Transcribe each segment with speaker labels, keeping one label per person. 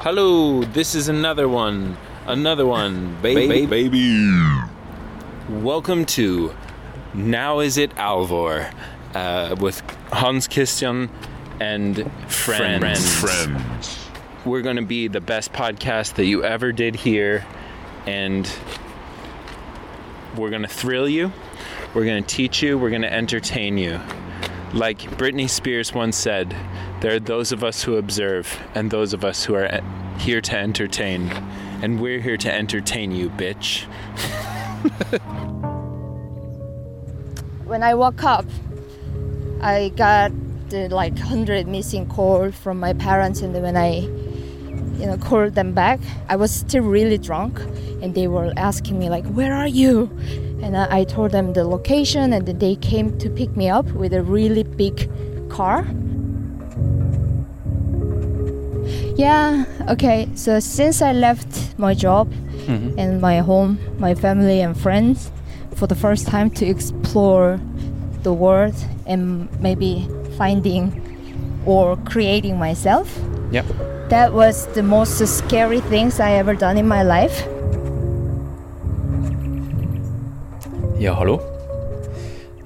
Speaker 1: Hello, this is another one. Another one. Baby.
Speaker 2: baby.
Speaker 1: Welcome to Now Is It Alvor uh, with Hans Christian and friends.
Speaker 2: Friends.
Speaker 1: We're going to be the best podcast that you ever did here, and we're going to thrill you. We're going to teach you. We're going to entertain you. Like Britney Spears once said, there are those of us who observe and those of us who are en- here to entertain. And we're here to entertain you, bitch.
Speaker 3: when I woke up, I got the, like 100 missing call from my parents, and then when I, you know, called them back, I was still really drunk, and they were asking me like, "Where are you?" And I, I told them the location, and then they came to pick me up with a really big car. Yeah, okay. So since I left my job
Speaker 4: Mm-hmm.
Speaker 3: and my home, my family and friends, for the first time to explore the world and maybe finding or creating myself.
Speaker 1: Yep.
Speaker 3: That was the most scary things I ever done in my life.
Speaker 4: Ja, hallo?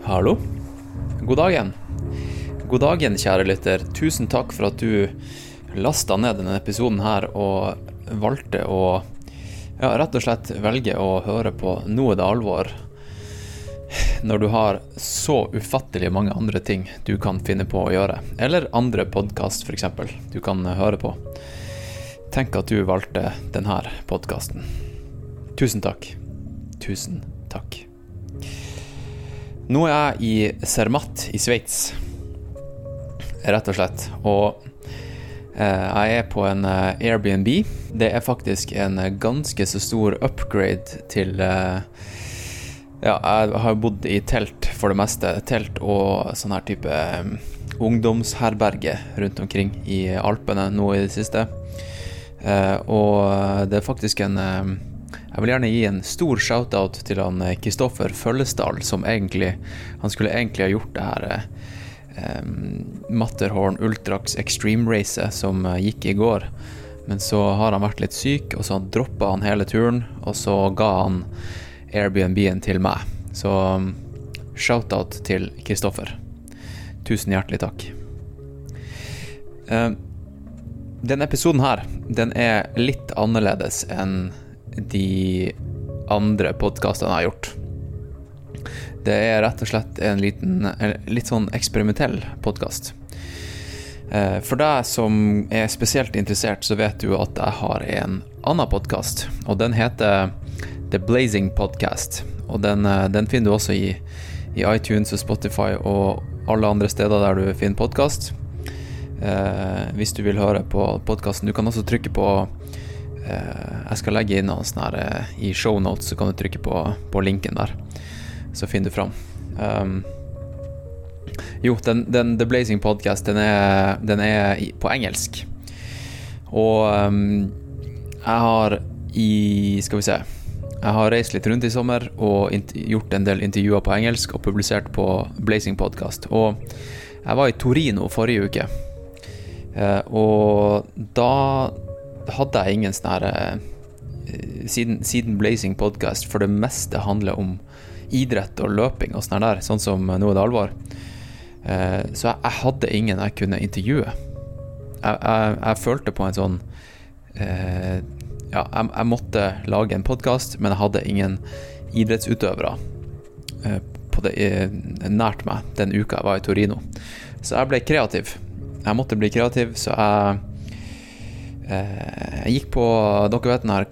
Speaker 4: Hallo? God dagen. God dagen, kjære lytter. Tusen takk for at du lasta ned denne episoden her og valgte å Ja, rett og slett velge å høre på Nå er det alvor. Når du har så ufattelig mange andre ting du kan finne på å gjøre. Eller andre podkast, f.eks. Du kan høre på. Tenk at du valgte denne podkasten. Tusen takk. Tusen takk. Nå er jeg i Zermatt i Sveits, rett og slett. Og eh, jeg er på en eh, Airbnb. Det er faktisk en eh, ganske så stor upgrade til eh, Ja, jeg har bodd i telt for det meste. Telt og sånn her type eh, ungdomsherberge rundt omkring i Alpene nå i det siste. Eh, og det er faktisk en eh, Jeg vil gjerne gi en stor shout-out til han eh, Kristoffer Føllesdal, som egentlig Han skulle egentlig ha gjort det her eh, eh, Matterhorn Ultrax Extreme-racet som eh, gikk i går. Men så har han vært litt syk, og så droppa han hele turen, og så ga han Airbnb-en til meg. Så mm, shout-out til Kristoffer. Tusen hjertelig takk. Eh, denne episoden her, den er litt annerledes enn de andre podkastene jeg har gjort. Det er rett og slett en liten, en litt sånn eksperimentell podkast. For deg som er spesielt interessert, så vet du at jeg har en annen podkast, og den heter The Blazing Podcast. Og den, eh, den finner du også i, i iTunes og Spotify og alle andre steder der du finner podkast. Eh, hvis du vil høre på podkasten. Du kan også trykke på eh, Jeg skal legge inn noen sånne her eh, i shownotes, så kan du trykke på, på linken der. Så finner du fram. Um, jo, den, den The Blazing Podcast, den er, den er i- på engelsk. Og um, jeg har i Skal vi se. Jeg har reist litt rundt i sommer og int- gjort en del intervjuer på engelsk og publisert på Blazing Podcast. Og jeg var i Torino forrige uke. Eh, og da hadde jeg ingen sånn her eh, siden, siden Blazing Podcast for det meste handler om idrett og løping og sånn her der, sånn som Nå er det alvor. Eh, så jeg, jeg hadde ingen jeg kunne intervjue. Jeg, jeg, jeg følte på en sånn eh, Ja, jeg, jeg måtte lage en podkast, men jeg hadde ingen idrettsutøvere eh, på det, eh, nært meg den uka jeg var i Torino. Så jeg ble kreativ. Jeg måtte bli kreativ, så jeg eh, Jeg gikk på Dere vet den her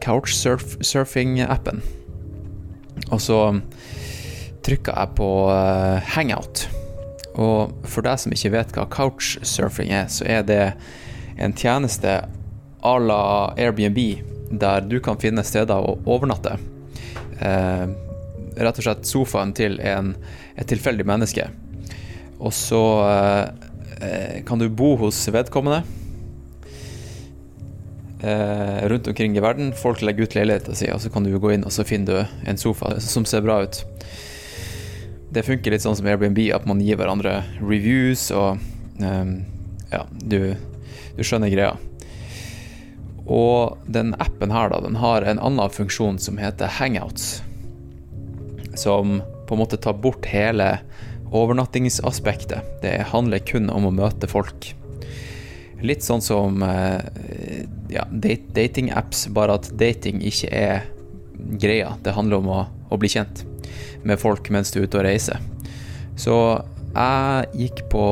Speaker 4: couchsurfing-appen. Og så trykka jeg på eh, hangout. Og for deg som ikke vet hva couchsurfing er, så er det en tjeneste à la Airbnb, der du kan finne steder å overnatte. Eh, rett og slett sofaen til en, et tilfeldig menneske. Og så eh, eh, kan du bo hos vedkommende eh, rundt omkring i verden. Folk legger ut leiligheten sin, og så kan du gå inn og så finner du en sofa som ser bra ut. Det funker litt sånn som Airbnb, at man gir hverandre ehm, reviews og eh, Ja, du, du skjønner greia. Og den appen her, da, den har en annen funksjon som heter hangouts. Som på en måte tar bort hele overnattingsaspektet. Det handler kun om å møte folk. Litt sånn som eh, ja, date- dating-apps, bare at dating ikke er greia. Det handler om å, å bli kjent med folk mens du er ute og reiser. Så jeg gikk på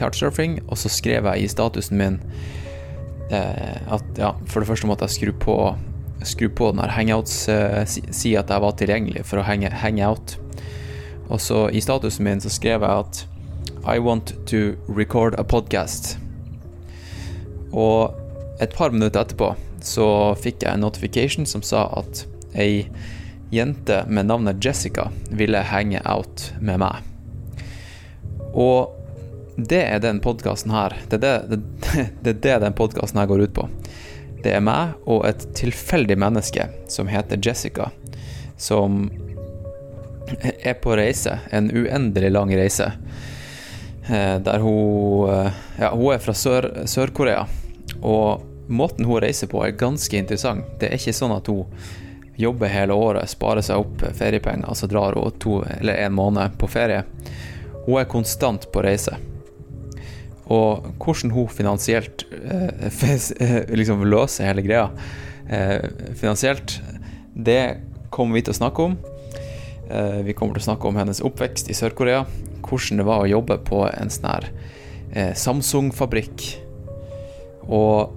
Speaker 4: couchsurfing, og så skrev jeg i statusen min eh, at ja, for det første måtte jeg skru på, skru på den her hangouts, eh, si, si at jeg var tilgjengelig for å henge, henge out. Og så i statusen min så skrev jeg at I want to record a podcast. Og et par minutter etterpå så fikk jeg en notification som sa at ei jente med navnet Jessica ville henge out med meg. Og det er den podkasten her. Det er det, det, det er det den podkasten her går ut på. Det er meg og et tilfeldig menneske som heter Jessica, som er på reise. En uendelig lang reise. Eh, Der hun eh, Ja, hun er fra Sør- Sør-Korea. og måten hun reiser på, er ganske interessant. Det er ikke sånn at hun jobber hele året, sparer seg opp feriepenger, og så drar hun to eller en måned på ferie. Hun er konstant på reise. Og hvordan hun finansielt eh, fes- eh, liksom løser hele greia eh, finansielt, det kommer vi til å snakke om. Eh, vi kommer til å snakke om hennes oppvekst i Sør-Korea, hvordan det var å jobbe på en sånn her eh, Samsung-fabrikk, og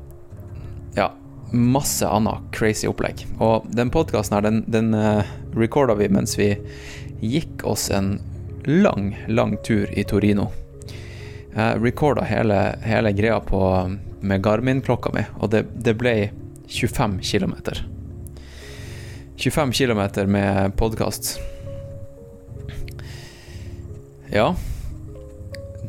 Speaker 4: ja, masse annet crazy opplegg. Og den podkasten her, den, den recorda vi mens vi gikk oss en lang, lang tur i Torino. Jeg recorda hele, hele greia på, med Garmin-klokka mi, og det, det ble 25 km. 25 km med podkast. Ja.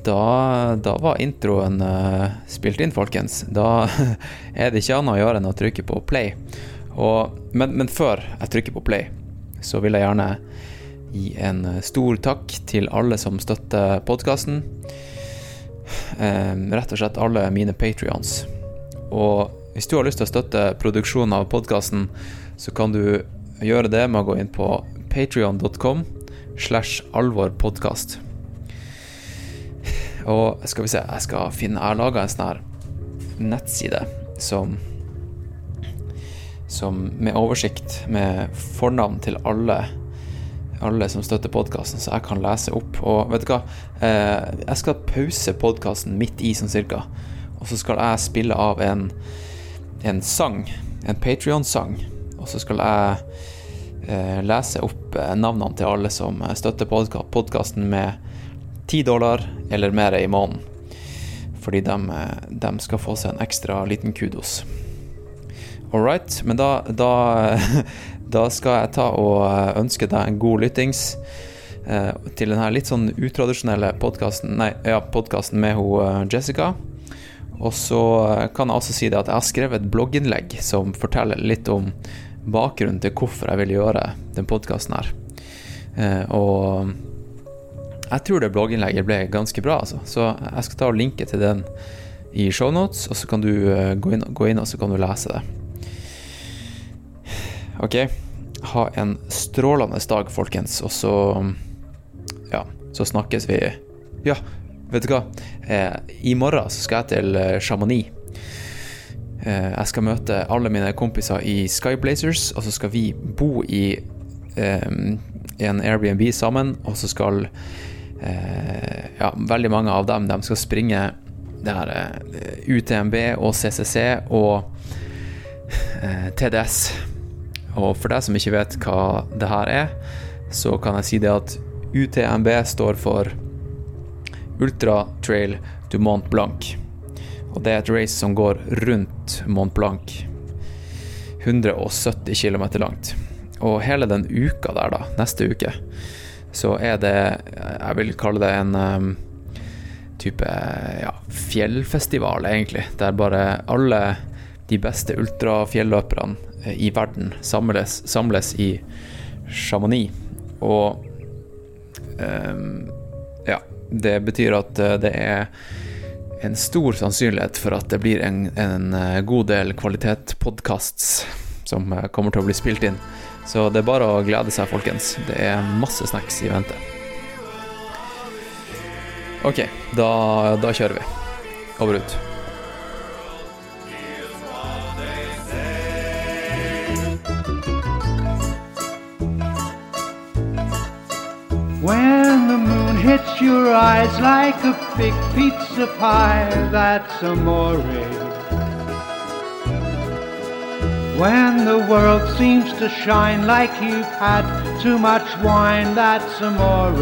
Speaker 4: Da, da var introen eh, spilt inn, folkens. Da er det ikke annet å gjøre enn å trykke på play. Og, men, men før jeg trykker på play, så vil jeg gjerne gi en eh, stor takk til alle som støtter podkasten. Ehm, Rett og slett alle mine patrions. Og hvis du har lyst til å støtte produksjonen av podkasten, så kan du gjøre det med å gå inn på patrion.com slash alvorpodkast. Og skal vi se, jeg skal finne Jeg har laga en sånn her nettside som som med oversikt med fornavn til alle alle som støtter podkasten, så jeg kan lese opp. Og vet du hva, eh, jeg skal pause podkasten midt i, sånn cirka. Og så skal jeg spille av en, en sang, en Patrion-sang. Og så skal jeg eh, lese opp eh, navnene til alle som eh, støtter podkasten med 10 dollar eller mer i måneden. Fordi de, eh, de skal få seg en ekstra liten kudos. All right, men da, da, da skal jeg ta og eh, ønske deg en god lyttings eh, til denne litt sånn utradisjonelle podkasten Nei, ja, podkasten med ho, eh, Jessica. Og så eh, kan jeg også si det at jeg har skrevet et blogginnlegg som forteller litt om bakgrunnen til hvorfor jeg ville gjøre den podkasten her. Eh, og jeg tror det blogginnlegget ble ganske bra, altså. Så jeg skal ta og linke til den i shownotes, og så kan du eh, gå inn, gå inn og så kan du lese det. Ok, ha en strålende dag, folkens, og så Ja, så snakkes vi Ja, vet du hva? Eh, I morgen så skal jeg til eh, Chamonix. Eh, jeg skal møte alle mine kompiser i Skyblazers, og så skal vi bo i eh, en Airbnb sammen, og så skal eh, ja, veldig mange av dem de skal springe det her eh, UTMB og CCC og eh, TDS. Og for deg som ikke vet hva det her er, så kan jeg si det at UTMB står for Ultra Trail du Mont Blanc. Og det er et race som går rundt Mont Blanc. 170 km langt. Og hele den uka der, da, neste uke, så er det Jeg vil kalle det en um, type ja, fjellfestival, egentlig. Der bare alle de beste ultrafjelløperne eh, i verden samles, samles i Chamonix. Og ehm, ja, det betyr at eh, det er en stor sannsynlighet for at det blir en, en eh, god del kvalitetspodkasts som eh, kommer til å bli spilt inn. Så det er bare å glede seg, folkens. Det er masse snacks i vente. Ok, da, da kjører vi. Over ut.
Speaker 5: When the moon hits your eyes like a big pizza pie, that's amore. When the world seems to shine like you've had too much wine, that's amore.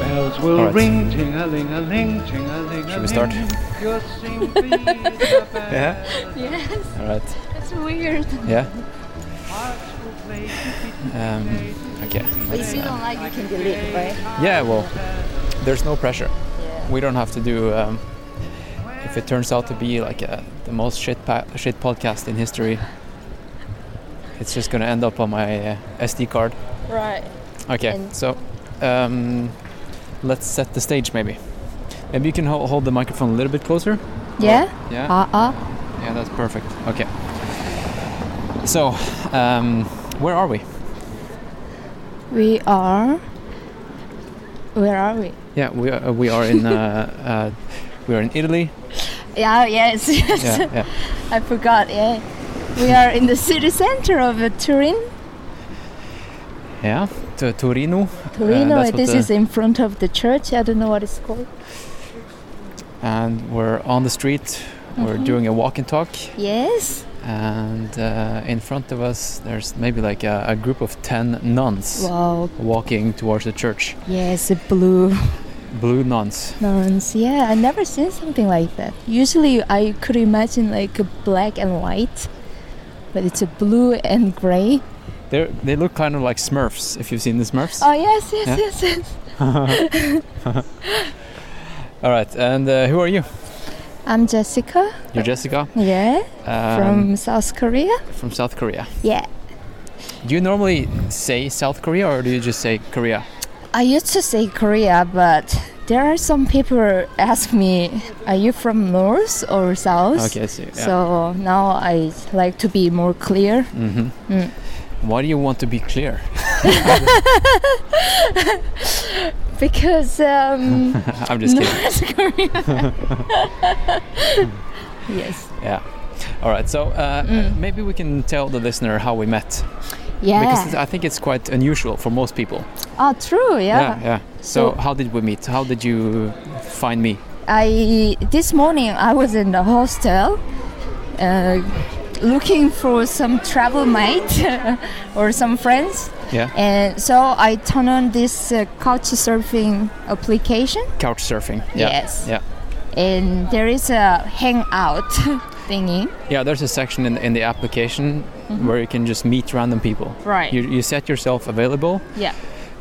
Speaker 5: Bells will
Speaker 4: Alright.
Speaker 5: ring, ting-a-ling-a-ling, ting-a-ling-a-ling.
Speaker 4: Should we start?
Speaker 5: You'll soon be the best.
Speaker 4: Yeah?
Speaker 3: Yes,
Speaker 4: All right.
Speaker 3: that's weird.
Speaker 4: Yeah?
Speaker 5: Hearts will play
Speaker 4: Um, ok.
Speaker 3: But if you don't like, you can delete, right?
Speaker 4: Yeah, well, there's no pressure.
Speaker 3: Yeah.
Speaker 4: We don't have to do. Um, if it turns out to be like a, the most shit pa- shit podcast in history, it's just gonna end up on my uh, SD card.
Speaker 3: Right.
Speaker 4: Okay,
Speaker 3: And-
Speaker 4: so um, let's set the stage, maybe. Maybe you can ho- hold the microphone a little bit closer.
Speaker 3: Yeah.
Speaker 4: Yeah.
Speaker 3: Uh uh.
Speaker 4: Yeah, that's perfect. Okay. So, um, where are we?
Speaker 3: We are. Where are we?
Speaker 4: Yeah, we are, we are in uh, uh, we are in Italy.
Speaker 3: Yeah. Yes. Yes.
Speaker 4: Yeah, yeah.
Speaker 3: I forgot. Yeah. We are in the city center of uh, Turin.
Speaker 4: Yeah, to Torino. Uh,
Speaker 3: Torino.
Speaker 4: that's what
Speaker 3: this
Speaker 4: the-
Speaker 3: is in front of the church. I don't know what it's called.
Speaker 4: and we're on the street. We're doing a walk and talk,
Speaker 3: Yes.
Speaker 4: and uh, in front of us, there's maybe like a, a group of ten nuns
Speaker 3: Wow.
Speaker 4: walking towards the church.
Speaker 3: Yes, a blue
Speaker 4: Blue nuns.
Speaker 3: nuns. Yeah, I never seen something like that. Usually, I could imagine like a black and white, but it's a blue and gray.
Speaker 4: They they look kind of like Smurfs. If you've seen the Smurfs.
Speaker 3: Oh yes, yes,
Speaker 4: Yeah.
Speaker 3: yes, yes.
Speaker 4: All right, and uh, who are you?
Speaker 3: I'm Jessica.
Speaker 4: You're Jessica
Speaker 3: Yeah,
Speaker 4: um,
Speaker 3: from South Korea.
Speaker 4: from South Korea.
Speaker 3: Yeah.
Speaker 4: Do you normally say South Korea or do you just say Korea?
Speaker 3: I used to say Korea, but there are some people ask me, "Are you from North or South?"
Speaker 4: Okay, I see. Yeah.
Speaker 3: So now I like to be more clear.
Speaker 4: Mhm.
Speaker 3: Mm.
Speaker 4: Why do you want to be clear?
Speaker 3: because um,
Speaker 4: I'm just kidding.
Speaker 3: North Korea. yes.
Speaker 4: Yeah. All right. So uh,
Speaker 3: Mm.
Speaker 4: maybe we can tell the listener how we met because
Speaker 3: Yeah.
Speaker 4: I think it's quite unusual for most people.
Speaker 3: Oh, true. Yeah.
Speaker 4: Yeah. yeah. So,
Speaker 3: So-
Speaker 4: how did we meet? How did you find me?
Speaker 3: I this morning I was in the hostel, uh, looking for some travel mate or some friends,
Speaker 4: Yeah.
Speaker 3: and so I turned on this uh, couch surfing application,
Speaker 4: Couch surfing.
Speaker 3: Yes.
Speaker 4: Yeah.
Speaker 3: and there is a hangout thingy.
Speaker 4: Yeah. There's a section in, in the application where you can just meet random people.
Speaker 3: Mm-hmm. Right.
Speaker 4: You, you set yourself available,
Speaker 3: yeah.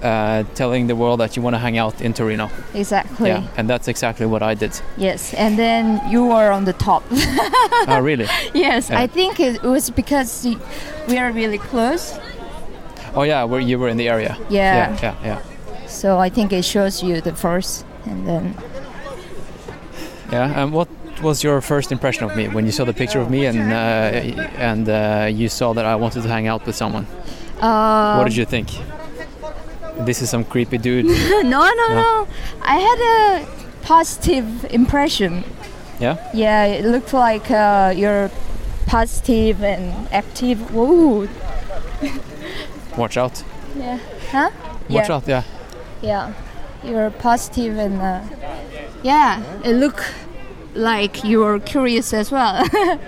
Speaker 4: uh, telling the world that you want to hang out in Torino.
Speaker 3: Exactly.
Speaker 4: Yeah. And that's exactly what I did.
Speaker 3: Yes. And then you were on the top.
Speaker 4: oh, really?
Speaker 3: yes.
Speaker 4: Yeah.
Speaker 3: I think it was because y- we are really close.
Speaker 4: Oh, yeah. Where you were in the area.
Speaker 3: Yeah.
Speaker 4: Yeah. Yeah.
Speaker 3: So I think it shows you the first, and then
Speaker 4: Yeah. yeah. And what was your first impression of me when you saw the picture of me and uh, and uh, you saw that I wanted to hang out with someone?
Speaker 3: uh,
Speaker 4: What did you think? This is some creepy dude.
Speaker 3: no, no,
Speaker 4: No.
Speaker 3: no. I had a positive impression.
Speaker 4: Yeah?
Speaker 3: Yeah, it looked like uh, you're positive and active. Whoa.
Speaker 4: Watch out.
Speaker 3: Yeah. Huh?
Speaker 4: Watch
Speaker 3: yeah.
Speaker 4: out, yeah.
Speaker 3: Yeah. You're positive and uh, yeah, it look like you're curious as well.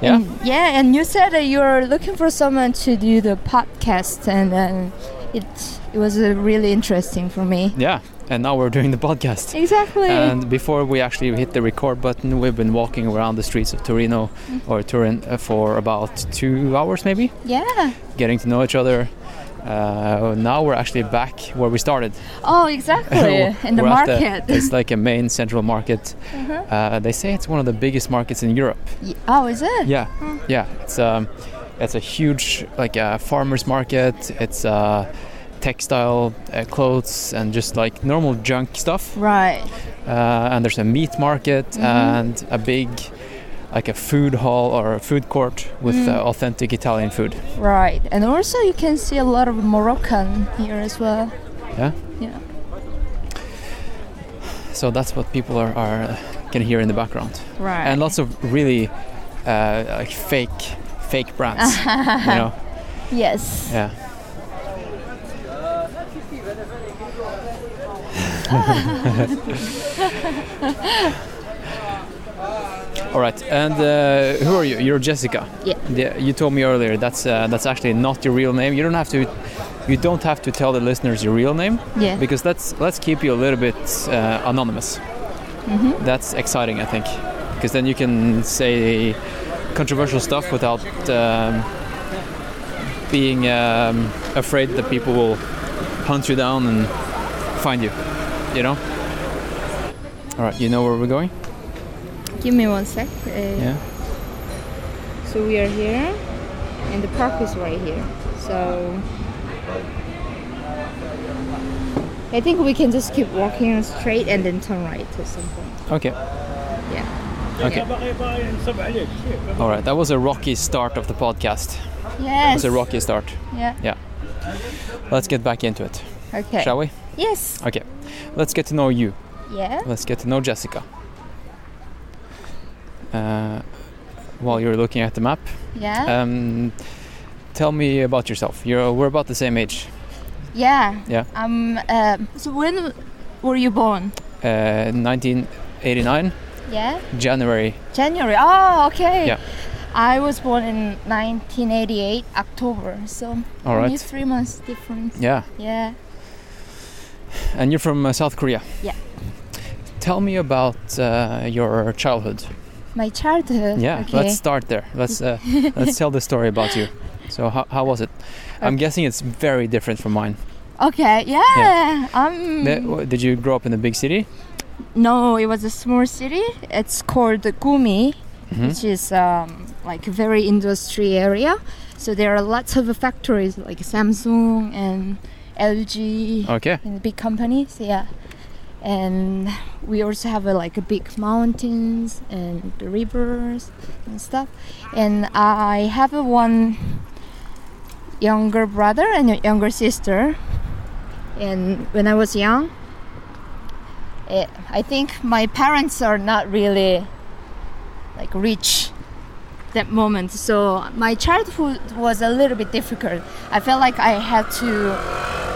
Speaker 4: Yeah?
Speaker 3: yeah, and you said that you're looking for someone to do the podcast, and then it it was uh, really interesting for me.
Speaker 4: Yeah. And now we're doing the podcast.
Speaker 3: Exactly.
Speaker 4: And before we actually hit the record button, we've been walking around the streets of Torino
Speaker 3: Mm.
Speaker 4: or Turin uh, for about two hours, maybe,
Speaker 3: yeah.
Speaker 4: getting to know each other. Uh, now we're actually back where we started.
Speaker 3: Oh, exactly. In the
Speaker 4: We're at
Speaker 3: market. Mm-hmm.
Speaker 4: it's like a main central market. Uh, they say it's one of the biggest markets in Europe.
Speaker 3: Y- oh, is it?
Speaker 4: Yeah, yeah. uh, It's um, it's a huge like a farmers market. It's a textile uh, clothes and just like normal junk stuff.
Speaker 3: Right.
Speaker 4: Uh, and there's a meat market
Speaker 3: Mhm.
Speaker 4: and a big, like a food hall or a food court with
Speaker 3: Mm.
Speaker 4: uh, authentic Italian food.
Speaker 3: Right. And also you can see a lot of Moroccan here as well.
Speaker 4: So that's what people are, are uh, can hear in the background.
Speaker 3: Right.
Speaker 4: And lots of really uh, like fake fake brands. you know?
Speaker 3: Yes.
Speaker 4: Yeah. All right, and uh, who are you? You're Jessica.
Speaker 3: Yeah.
Speaker 4: You told me earlier that's uh, that's actually not your real name. You don't have to, you don't have to tell the listeners your real name
Speaker 3: Yeah.
Speaker 4: because let's let's keep you a little bit uh, anonymous.
Speaker 3: Mhm.
Speaker 4: That's exciting, I think, because then you can say controversial stuff without um, being um, afraid that people will hunt you down and find you. You know. All right, you know where we're going.
Speaker 3: Give me one sec. Uh,
Speaker 4: Yeah.
Speaker 3: So we are here, and the park is right here. So I think we can just keep walking straight and then turn right at some point.
Speaker 4: Okay. Okay. All right, that was a rocky start of the podcast. That
Speaker 3: Yes.
Speaker 4: was a rocky start.
Speaker 3: Yeah.
Speaker 4: Let's get back into it,
Speaker 3: Okay.
Speaker 4: shall we?
Speaker 3: Yes.
Speaker 4: Okay. Let's get to know you.
Speaker 3: Yeah.
Speaker 4: Let's get to know Jessica. Uh, while you're looking at the map,
Speaker 3: Yeah.
Speaker 4: um, tell me about yourself. You're we're about the same age.
Speaker 3: yeah.
Speaker 4: yeah.
Speaker 3: Um. Uh, so when were you born?
Speaker 4: Uh, 1989,
Speaker 3: Yeah.
Speaker 4: January.
Speaker 3: January. Oh, okay.
Speaker 4: Yeah.
Speaker 3: I was born in 1988 October. So
Speaker 4: All
Speaker 3: only
Speaker 4: right.
Speaker 3: three months difference.
Speaker 4: Yeah.
Speaker 3: Yeah.
Speaker 4: And you're from uh, South Korea.
Speaker 3: Yeah.
Speaker 4: Tell me about uh, your childhood.
Speaker 3: My childhood.
Speaker 4: Yeah,
Speaker 3: Okay.
Speaker 4: let's start there. Let's uh, let's tell the story about you. So how, how was it? I'm guessing it's very different from mine.
Speaker 3: Okay, yeah. Um,
Speaker 4: Th- w- Did you grow up in a big city?
Speaker 3: no, it was a small city. It's called Gumi,
Speaker 4: Mhm.
Speaker 3: which is um, like a very industry area. So there are lots of factories like Samsung and LG
Speaker 4: Okay.
Speaker 3: and big companies. Yeah. And we also have uh, like a big mountains and the rivers and stuff. And I have uh, one younger brother and a younger sister. And when I was young, eh, I think my parents are not really like rich that moment. So my childhood was a little bit difficult. I felt like I had to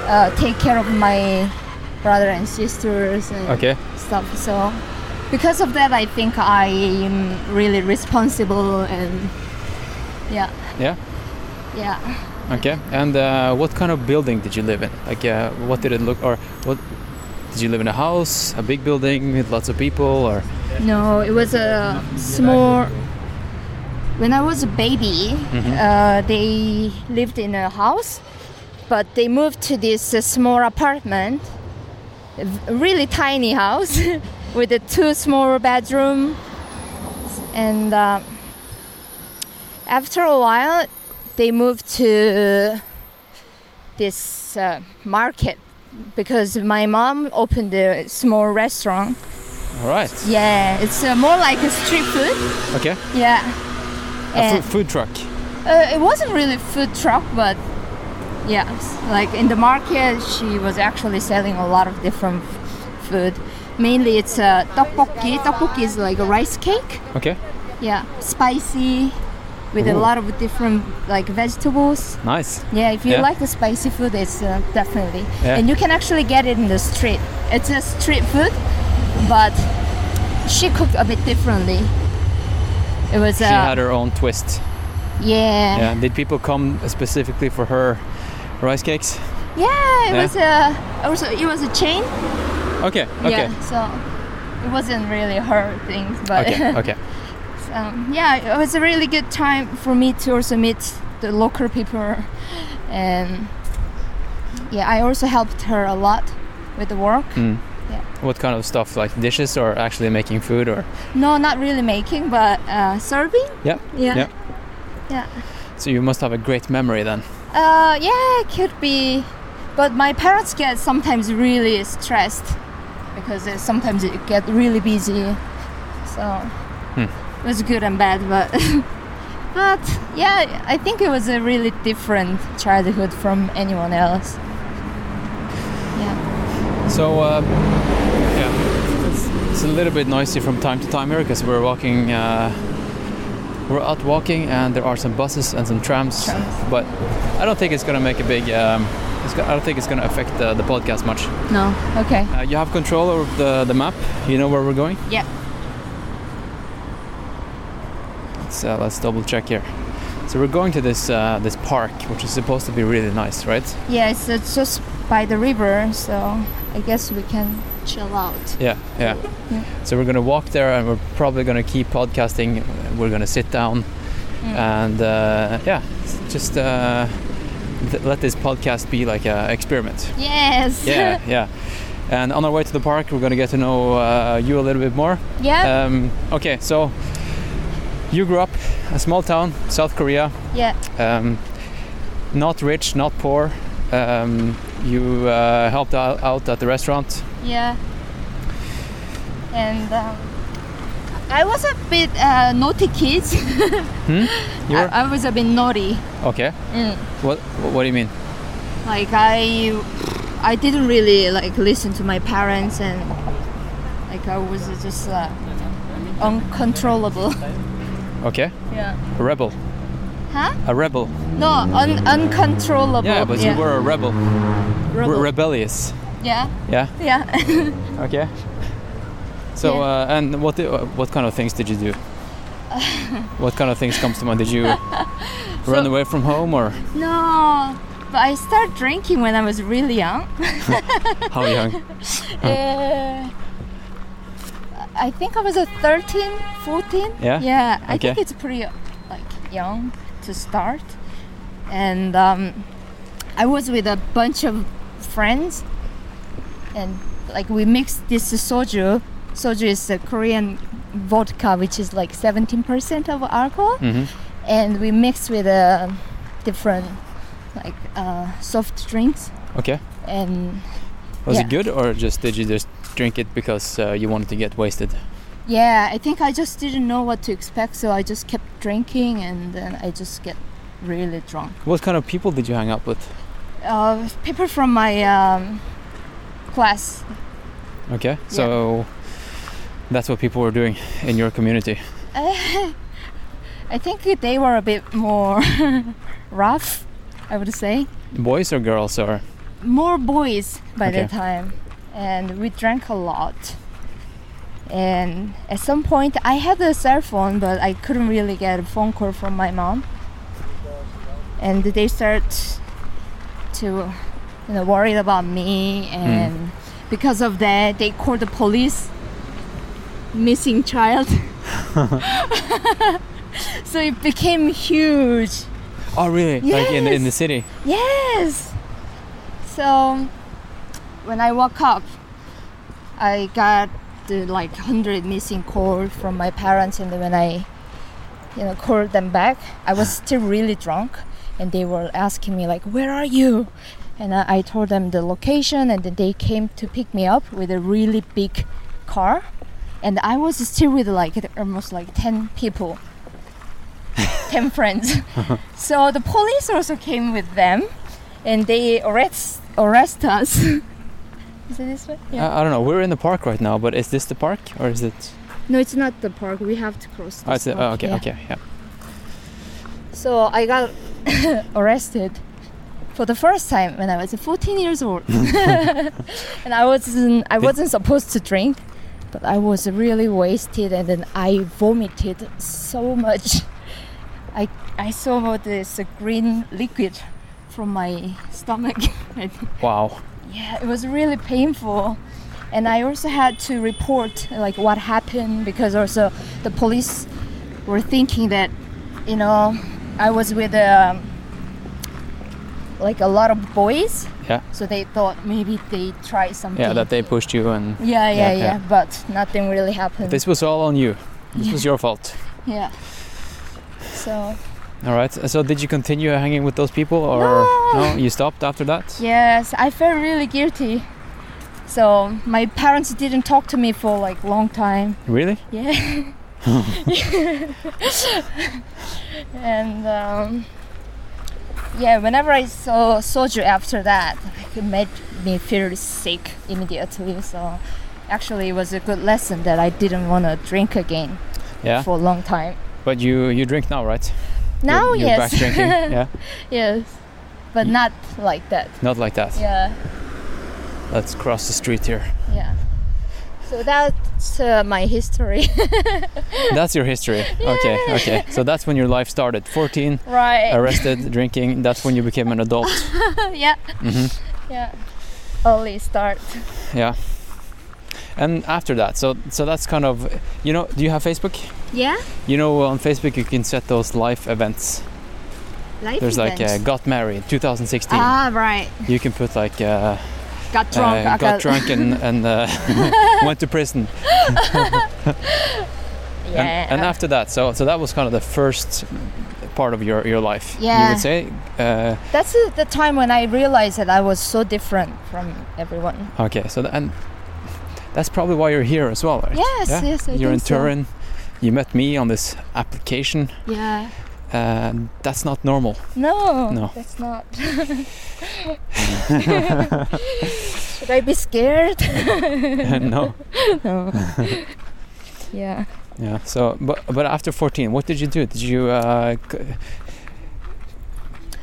Speaker 3: uh, take care of my brother and sisters and
Speaker 4: Okay.
Speaker 3: stuff. So because of that, I think I am really responsible and yeah,
Speaker 4: Yeah.
Speaker 3: yeah.
Speaker 4: Okay. And uh, what kind of building did you live in? Like, uh, what did it look or what? Did you live in a house, a big building with lots of people, or
Speaker 3: No, it was a small. When I was a baby, uh, they lived in a house, but they moved to this uh, small apartment, a v- really tiny house with a two small bedroom. And uh, after a while, they moved to this uh, market because my mom opened a small restaurant.
Speaker 4: all right?
Speaker 3: Yeah, it's uh, more like a street food.
Speaker 4: Okay.
Speaker 3: Yeah.
Speaker 4: A
Speaker 3: And,
Speaker 4: fu- food truck.
Speaker 3: uh, it wasn't really food truck, but yeah, s- like in the market, she was actually selling a lot of different f- food. Mainly, it's uh, tteokbokki. Tteokbokki is like a rice cake.
Speaker 4: Okay.
Speaker 3: Yeah, spicy with a
Speaker 4: Ooh.
Speaker 3: lot of different like vegetables.
Speaker 4: Nice.
Speaker 3: Yeah, if you
Speaker 4: Yeah.
Speaker 3: like the spicy food, it's uh, definitely.
Speaker 4: Yeah.
Speaker 3: And you can actually get it in the street. It's a street food, but she cooked a bit differently. It was
Speaker 4: She
Speaker 3: uh,
Speaker 4: had her own twist.
Speaker 3: yeah.
Speaker 4: Yeah. Did people come specifically for her rice cakes?
Speaker 3: Yeah, it
Speaker 4: Yeah.
Speaker 3: was a also it was a chain.
Speaker 4: Okay. Okay.
Speaker 3: Yeah, so it wasn't really her thing, but
Speaker 4: Okay. Okay.
Speaker 3: um, yeah, it was a really good time for me to also meet the local people, and yeah, I also helped her a lot with the work.
Speaker 4: Mm.
Speaker 3: Yeah.
Speaker 4: What kind of stuff, like dishes or actually making food or?
Speaker 3: No, not really making, but uh, serving.
Speaker 4: Yeah.
Speaker 3: Yeah.
Speaker 4: Yeah.
Speaker 3: Yeah.
Speaker 4: So you must have a great memory then.
Speaker 3: Uh, yeah, it could be But my parents get sometimes really stressed because they sometimes it get really busy. So it was good and bad, but but yeah, I think it was a really different childhood from anyone else. Yeah.
Speaker 4: So, uh, yeah, it's, it's a little bit noisy from time to time here because we're walking. Uh, we're out walking, and there are some buses and some trams.
Speaker 3: Trams.
Speaker 4: But I don't think it's gonna make a big. Um, it's, go- I don't think it's gonna affect the, the podcast much.
Speaker 3: No. Okay.
Speaker 4: Uh, you have control over the, the map. You know where we're going.
Speaker 3: Yeah.
Speaker 4: Let's uh, let's double check here. So we're going to this uh, this park, which is supposed to be really nice, right?
Speaker 3: Yeah, it's, it's just by the river, so I guess we can chill out.
Speaker 4: Yeah, yeah.
Speaker 3: Yeah.
Speaker 4: So we're gonna walk there, and we're probably gonna keep podcasting. We're gonna sit down, and uh, yeah, s- just uh, th- let this podcast be like an experiment.
Speaker 3: Yes.
Speaker 4: Yeah, yeah. And on our way to the park, we're gonna get to know uh, you a little bit more.
Speaker 3: yeah.
Speaker 4: Um, okay, so you grew up a small town, South Korea.
Speaker 3: yeah.
Speaker 4: Um, not rich, not poor. Um, you uh, helped out, out at the restaurant.
Speaker 3: Yeah. And um, I was a bit uh, naughty kid.
Speaker 4: Hmm? You were-
Speaker 3: I, I was a bit naughty.
Speaker 4: Okay.
Speaker 3: Mm.
Speaker 4: What What do you mean?
Speaker 3: Like I, I didn't really like listen to my parents, and like I was just uh, uncontrollable.
Speaker 4: Okay.
Speaker 3: yeah.
Speaker 4: A rebel.
Speaker 3: Huh?
Speaker 4: A rebel.
Speaker 3: No, un- uncontrollable.
Speaker 4: Yeah, but you were a rebel. Re-
Speaker 3: Rebel.
Speaker 4: rebellious.
Speaker 3: yeah.
Speaker 4: Yeah.
Speaker 3: Yeah.
Speaker 4: Okay. So
Speaker 3: Yeah.
Speaker 4: uh, and what di- uh, what kind of things did you do? what kind of things comes to mind? Did you run away from home or
Speaker 3: no. But I started drinking when I was really young.
Speaker 4: how young? Mm.
Speaker 3: Uh, I think I was a 13, 14.
Speaker 4: Yeah?
Speaker 3: Yeah. I think
Speaker 4: Okay.
Speaker 3: it's pretty like young to start. And um, I was with a bunch of friends and like we mixed this soju. Soju is a Korean vodka which is like 17% of alcohol
Speaker 4: Mhm.
Speaker 3: and we mixed with uh, different like uh, soft drinks
Speaker 4: Okay.
Speaker 3: and
Speaker 4: Was
Speaker 3: Yeah.
Speaker 4: it good or just did you just drink it because uh, you wanted to get wasted?
Speaker 3: Yeah, I think I just didn't know what to expect, so I just kept drinking, and then I just get really drunk.
Speaker 4: What kind of people did you hang out with?
Speaker 3: Uh, people from my um, class,
Speaker 4: Okay. So that's what people were doing in your community.
Speaker 3: I think they were a bit more rough, I would say.
Speaker 4: Boys or girls or
Speaker 3: More boys by
Speaker 4: Okay.
Speaker 3: the time, and we drank a lot. And at some point, I had a cell phone, but I couldn't really get a phone call from my mom. And they start to, you know, worried about me, and because of that, they called the police. Missing child. so it became huge.
Speaker 4: Oh, really? Like in, in the
Speaker 3: Yes.
Speaker 4: city?
Speaker 3: Yes. So when I woke up, I got the, like hundred missing call from my parents, and then when I, you know, called them back, I was still really drunk, and they were asking me like, "Where are you?" And I, I told them the location, and then they came to pick me up with a really big car, and I was still with like almost like ten people, ten friends. So the police also came with them, and they arrest arrest us. is it this way? Yeah.
Speaker 4: I, I don't know. We're in the park right now, but is this the park or is it?
Speaker 3: no, it's not the park. We have to cross.
Speaker 4: Oh,
Speaker 3: This
Speaker 4: it's, oh
Speaker 3: park,
Speaker 4: okay,
Speaker 3: yeah.
Speaker 4: okay, yeah.
Speaker 3: So I got arrested for the first time when I was 14 years old, and I wasn't I wasn't supposed to drink, but I was really wasted, and then I vomited so much. I I saw this green liquid from my stomach. I think.
Speaker 4: Wow.
Speaker 3: Yeah, it was really painful. And I also had to report like what happened because also the police were thinking that you know I was with um, like a lot of boys,
Speaker 4: Yeah,
Speaker 3: so they thought maybe they tried something.
Speaker 4: yeah. That they pushed you, and
Speaker 3: yeah, yeah,
Speaker 4: Yeah,
Speaker 3: yeah,
Speaker 4: yeah.
Speaker 3: but nothing really happened.
Speaker 4: this was all on you. This was your fault.
Speaker 3: yeah. So
Speaker 4: All right. So did you continue hanging with those people, or
Speaker 3: no,
Speaker 4: No, you stopped after that.
Speaker 3: Yes, I felt really guilty. So my parents didn't talk to me for like long time.
Speaker 4: Really?
Speaker 3: Yeah. and um, yeah, whenever I saw soju after that, like, it made me feel sick immediately. So actually, it was a good lesson that I didn't want to drink again
Speaker 4: Yeah.
Speaker 3: for a long time.
Speaker 4: But you you drink now, right? You're-
Speaker 3: Now,
Speaker 4: you're,
Speaker 3: yes,
Speaker 4: back drinking. Mm. Yeah.
Speaker 3: yes, but not like that.
Speaker 4: Not like that.
Speaker 3: Yeah.
Speaker 4: Let's cross the street here.
Speaker 3: Yeah. So that's uh, my history.
Speaker 4: That's your history. Okay. Okay. So that's when your life started. 14,
Speaker 3: right.
Speaker 4: arrested, drinking. That's when you became an adult.
Speaker 3: yeah.
Speaker 4: hmm
Speaker 3: Yeah. Early start.
Speaker 4: Yeah. And after that, so so that's kind of you know. Do you have Facebook?
Speaker 3: Yeah.
Speaker 4: You know, on Facebook you can set those life events.
Speaker 3: Life
Speaker 4: There's like uh,
Speaker 3: events.
Speaker 4: got married 2016.
Speaker 3: ah right.
Speaker 4: You can put like. Uh,
Speaker 3: Got drunk.
Speaker 4: uh,
Speaker 3: I
Speaker 4: got drunk and, and uh, went to prison.
Speaker 3: Yeah.
Speaker 4: And, and after that, so so that was kind of the first part of your, your life. You
Speaker 3: Yeah.
Speaker 4: would say. Uh,
Speaker 3: that's uh, the time when I realized that I was so different from everyone.
Speaker 4: okay. So th- and that's probably why you're here as well. Right?
Speaker 3: Yes.
Speaker 4: Yeah?
Speaker 3: Yes. I
Speaker 4: you're in
Speaker 3: think so.
Speaker 4: Turin. You met me on this application.
Speaker 3: Yeah.
Speaker 4: Uh, that's not normal.
Speaker 3: No.
Speaker 4: No.
Speaker 3: That's not. Should I be scared?
Speaker 4: no.
Speaker 3: no. yeah.
Speaker 4: Yeah. So, but but after 14, what did you do? Did you uh, c-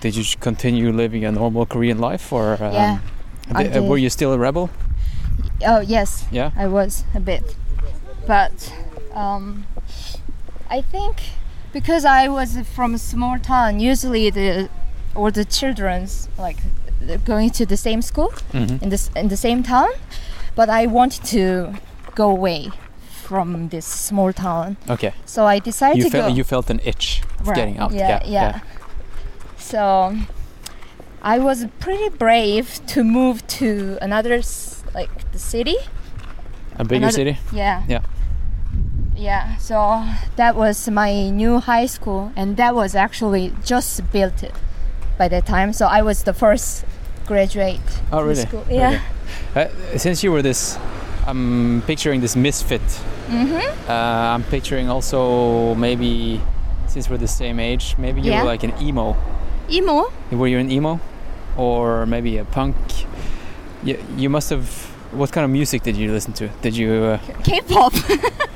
Speaker 4: did you continue living a normal Korean life, or um,
Speaker 3: Yeah, I
Speaker 4: di- uh, were
Speaker 3: did.
Speaker 4: you still a rebel?
Speaker 3: Oh yes.
Speaker 4: Yeah.
Speaker 3: I was a bit, but um, I think because I was from a small town, usually the all the childrens like they're going to the same school
Speaker 4: Mhm.
Speaker 3: in this in the same town, but I wanted to go away from this small town,
Speaker 4: Okay.
Speaker 3: so I decided
Speaker 4: You
Speaker 3: to go.
Speaker 4: felt you felt an itch of
Speaker 3: Right,
Speaker 4: getting out.
Speaker 3: Yeah, yeah. So I was pretty brave to move to another s- like the city.
Speaker 4: A bigger
Speaker 3: Another-
Speaker 4: city.
Speaker 3: Yeah.
Speaker 4: Yeah.
Speaker 3: Yeah. So that was my new high school, and that was actually just built by that time. So I was the first graduate.
Speaker 4: Oh
Speaker 3: from
Speaker 4: really?
Speaker 3: School. Yeah.
Speaker 4: Okay. Uh, since you were this, I'm picturing this misfit.
Speaker 3: Mhm.
Speaker 4: Uh, I'm picturing also maybe since we're the same age, maybe you
Speaker 3: Yeah.
Speaker 4: were like an emo.
Speaker 3: Emo.
Speaker 4: Were you an emo, or maybe a punk? You, you must have. What kind of music did you listen to? Did you uh,
Speaker 3: K-pop.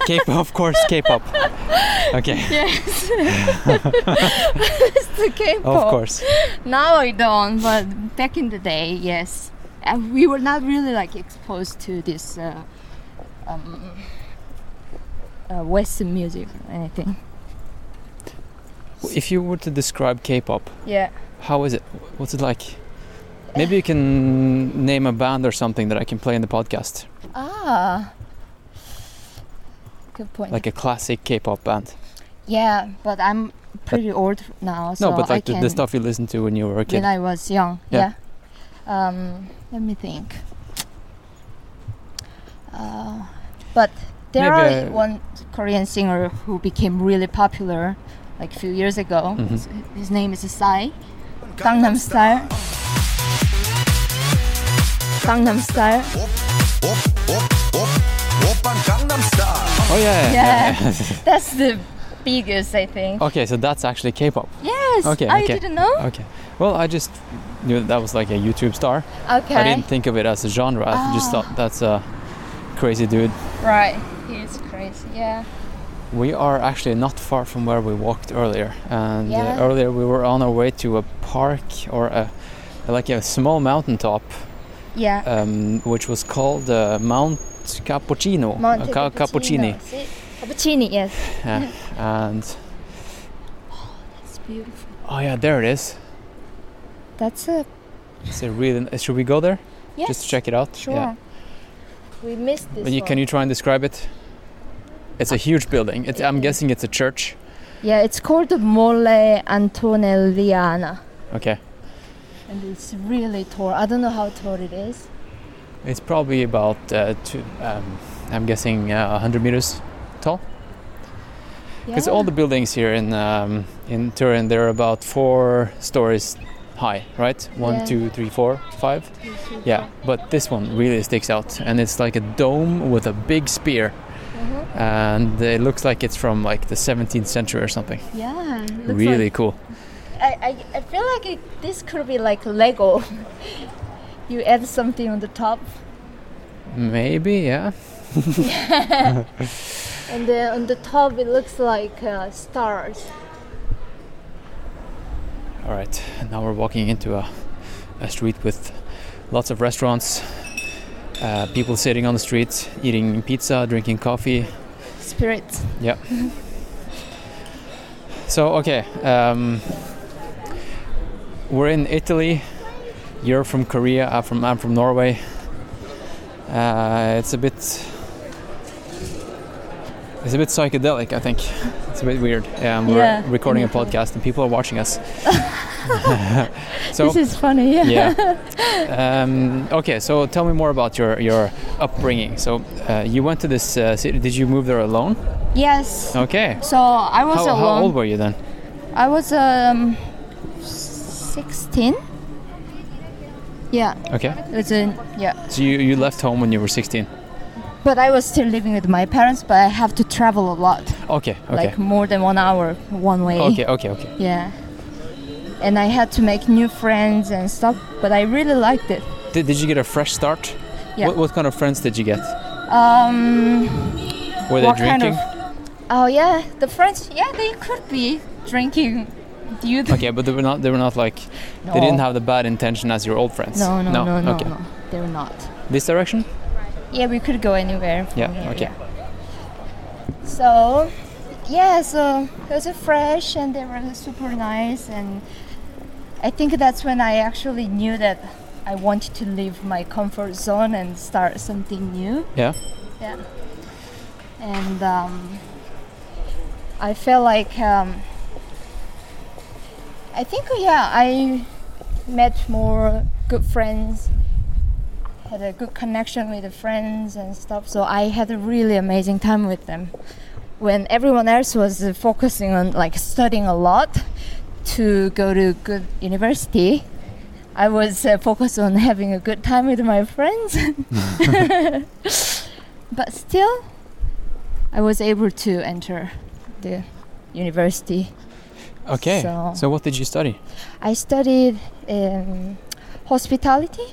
Speaker 4: K-pop? of course, K-pop. Okay,
Speaker 3: yes. it's the K-pop.
Speaker 4: of course.
Speaker 3: Now I don't, but back in the day, yes. And we were not really like exposed to this uh, um, uh, Western music or anything.
Speaker 4: If you were to describe K-pop,
Speaker 3: Yeah.
Speaker 4: how is it? What's it like? Maybe you can name a band or something that I can play in the podcast,
Speaker 3: Ah. Good point.
Speaker 4: like a classic K-pop band.
Speaker 3: yeah, but I'm pretty old now, so
Speaker 4: no, but like
Speaker 3: I
Speaker 4: the,
Speaker 3: can,
Speaker 4: the stuff you listened to when you were a kid.
Speaker 3: when I was young.
Speaker 4: Yeah.
Speaker 3: Yeah. Um, let me think. Uh, but there
Speaker 4: Maybe
Speaker 3: are
Speaker 4: I-
Speaker 3: one Korean singer who became really popular like a few years ago.
Speaker 4: Mhm.
Speaker 3: His, his name is Psy. Gangnam Style. Gangnam Style.
Speaker 4: oh yeah.
Speaker 3: Yeah. That's the biggest, I think.
Speaker 4: Okay, so that's actually K-pop.
Speaker 3: Yes.
Speaker 4: Oh. Okay,
Speaker 3: I
Speaker 4: okay.
Speaker 3: didn't know.
Speaker 4: Okay. Well, I just knew that, that was like a YouTube star.
Speaker 3: Okay.
Speaker 4: I didn't think of it as a genre. I just
Speaker 3: Ah.
Speaker 4: thought that's a crazy dude.
Speaker 3: Right. He's crazy. Yeah.
Speaker 4: We are actually not far from where we walked earlier, and
Speaker 3: Yeah.
Speaker 4: uh, earlier we were on our way to a park or a like a small mountaintop,
Speaker 3: Yeah.
Speaker 4: um, which was called uh, Mount Cappuccino.
Speaker 3: Monte
Speaker 4: Uh, Ca-
Speaker 3: Cappuccino. See? Cappuccini, yes.
Speaker 4: Yeah. and
Speaker 3: It's beautiful.
Speaker 4: oh yeah, there it is.
Speaker 3: That's a
Speaker 4: It's a really. uh, Should we go there
Speaker 3: yes.
Speaker 4: just to check it out?
Speaker 3: Sure.
Speaker 4: Yeah.
Speaker 3: We missed this.
Speaker 4: But you, can you try and describe it? It's a huge building. It's, I'm guessing it's a church.
Speaker 3: Yeah, it's called the Mole Antonelliana,
Speaker 4: Okay.
Speaker 3: and it's really tall. I don't know how tall it is.
Speaker 4: It's probably about uh, two, um, I'm guessing uh, 100 meters tall. Because all the buildings here in um, in Turin, they're about four stories high, right? One,
Speaker 3: Yeah.
Speaker 4: two, three, four, five. Yeah, but this one really sticks out, and it's like a dome with a big spear,
Speaker 3: Mhm.
Speaker 4: and it looks like it's from like the 17th century or something.
Speaker 3: Yeah. it looks
Speaker 4: really cool.
Speaker 3: like- I, I, I feel like it, this could be like Lego. you add something on the top,
Speaker 4: Maybe, yeah.
Speaker 3: and then on the top it looks like uh, stars.
Speaker 4: All right, now we're walking into a, a street with lots of restaurants, uh, people sitting on the street, eating pizza, drinking coffee.
Speaker 3: Spirits.
Speaker 4: So, okay, um, we're in Italy. You're from Korea. I'm from I'm from Norway. Uh, it's a bit it's a bit psychedelic. I think it's a bit weird. Um, we're
Speaker 3: Yeah.
Speaker 4: recording a podcast and people are watching us. so
Speaker 3: This is funny. Yeah.
Speaker 4: yeah. Um, okay, so tell me more about your your upbringing. So uh, you went to this uh, city. Did you move there alone?
Speaker 3: Yes.
Speaker 4: Okay.
Speaker 3: So I was
Speaker 4: How,
Speaker 3: alone.
Speaker 4: how old were you then?
Speaker 3: I was um, 16. Yeah,
Speaker 4: Okay.
Speaker 3: it's in yeah.
Speaker 4: So you, you left home when you were 16.
Speaker 3: But I was still living with my parents, but I have to travel a lot,
Speaker 4: Okay. Okay.
Speaker 3: like more than one hour one way.
Speaker 4: okay. Okay. Okay.
Speaker 3: Yeah. And I had to make new friends and stuff, but I really liked it.
Speaker 4: Did, did you get a fresh start?
Speaker 3: Yeah.
Speaker 4: What, what kind of friends did you get?
Speaker 3: Um,
Speaker 4: Were they
Speaker 3: what
Speaker 4: drinking?
Speaker 3: kind of? Oh yeah, the friends. Yeah, they could be drinking. Do you?
Speaker 4: okay, but they were not. They were not like. They didn't have the bad intention as your old friends.
Speaker 3: No, no, no, no, no.
Speaker 4: okay.
Speaker 3: They're not.
Speaker 4: This direction?
Speaker 3: Yeah, we could go anywhere. from
Speaker 4: Yeah,
Speaker 3: here,
Speaker 4: okay.
Speaker 3: yeah. So, yeah, so it was uh, fresh and they were super nice, and I think that's when I actually knew that I wanted to leave my comfort zone and start something new.
Speaker 4: Yeah.
Speaker 3: Yeah. And um, I felt like um, I think yeah, I met more good friends, had a good connection with the friends and stuff. So I had a really amazing time with them. When everyone else was uh, focusing on like studying a lot to go to good university, I was uh, focused on having a good time with my friends. but still, I was able to enter the university.
Speaker 4: Okay.
Speaker 3: So-
Speaker 4: what did you study?
Speaker 3: I studied um, hospitality.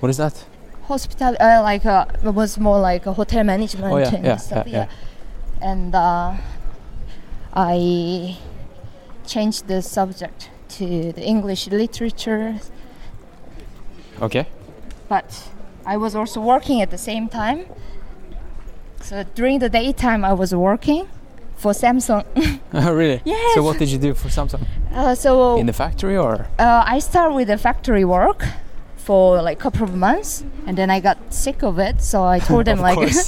Speaker 4: What is that?
Speaker 3: Hospital, uh, like uh, it was more like a hotel management
Speaker 4: Oh, yeah,
Speaker 3: and
Speaker 4: yeah,
Speaker 3: stuff.
Speaker 4: yeah, yeah.
Speaker 3: And uh, I changed the subject to the English literature,
Speaker 4: Okay.
Speaker 3: but I was also working at the same time. So during the daytime, I was working for Samsung.
Speaker 4: Oh, really?
Speaker 3: Yes.
Speaker 4: So what did you do for Samsung?
Speaker 3: Uh, so
Speaker 4: In the factory or?
Speaker 3: uh, I started with the factory work for like a couple of months, and then I got sick of it. So I told them
Speaker 4: Of
Speaker 3: like,
Speaker 4: course.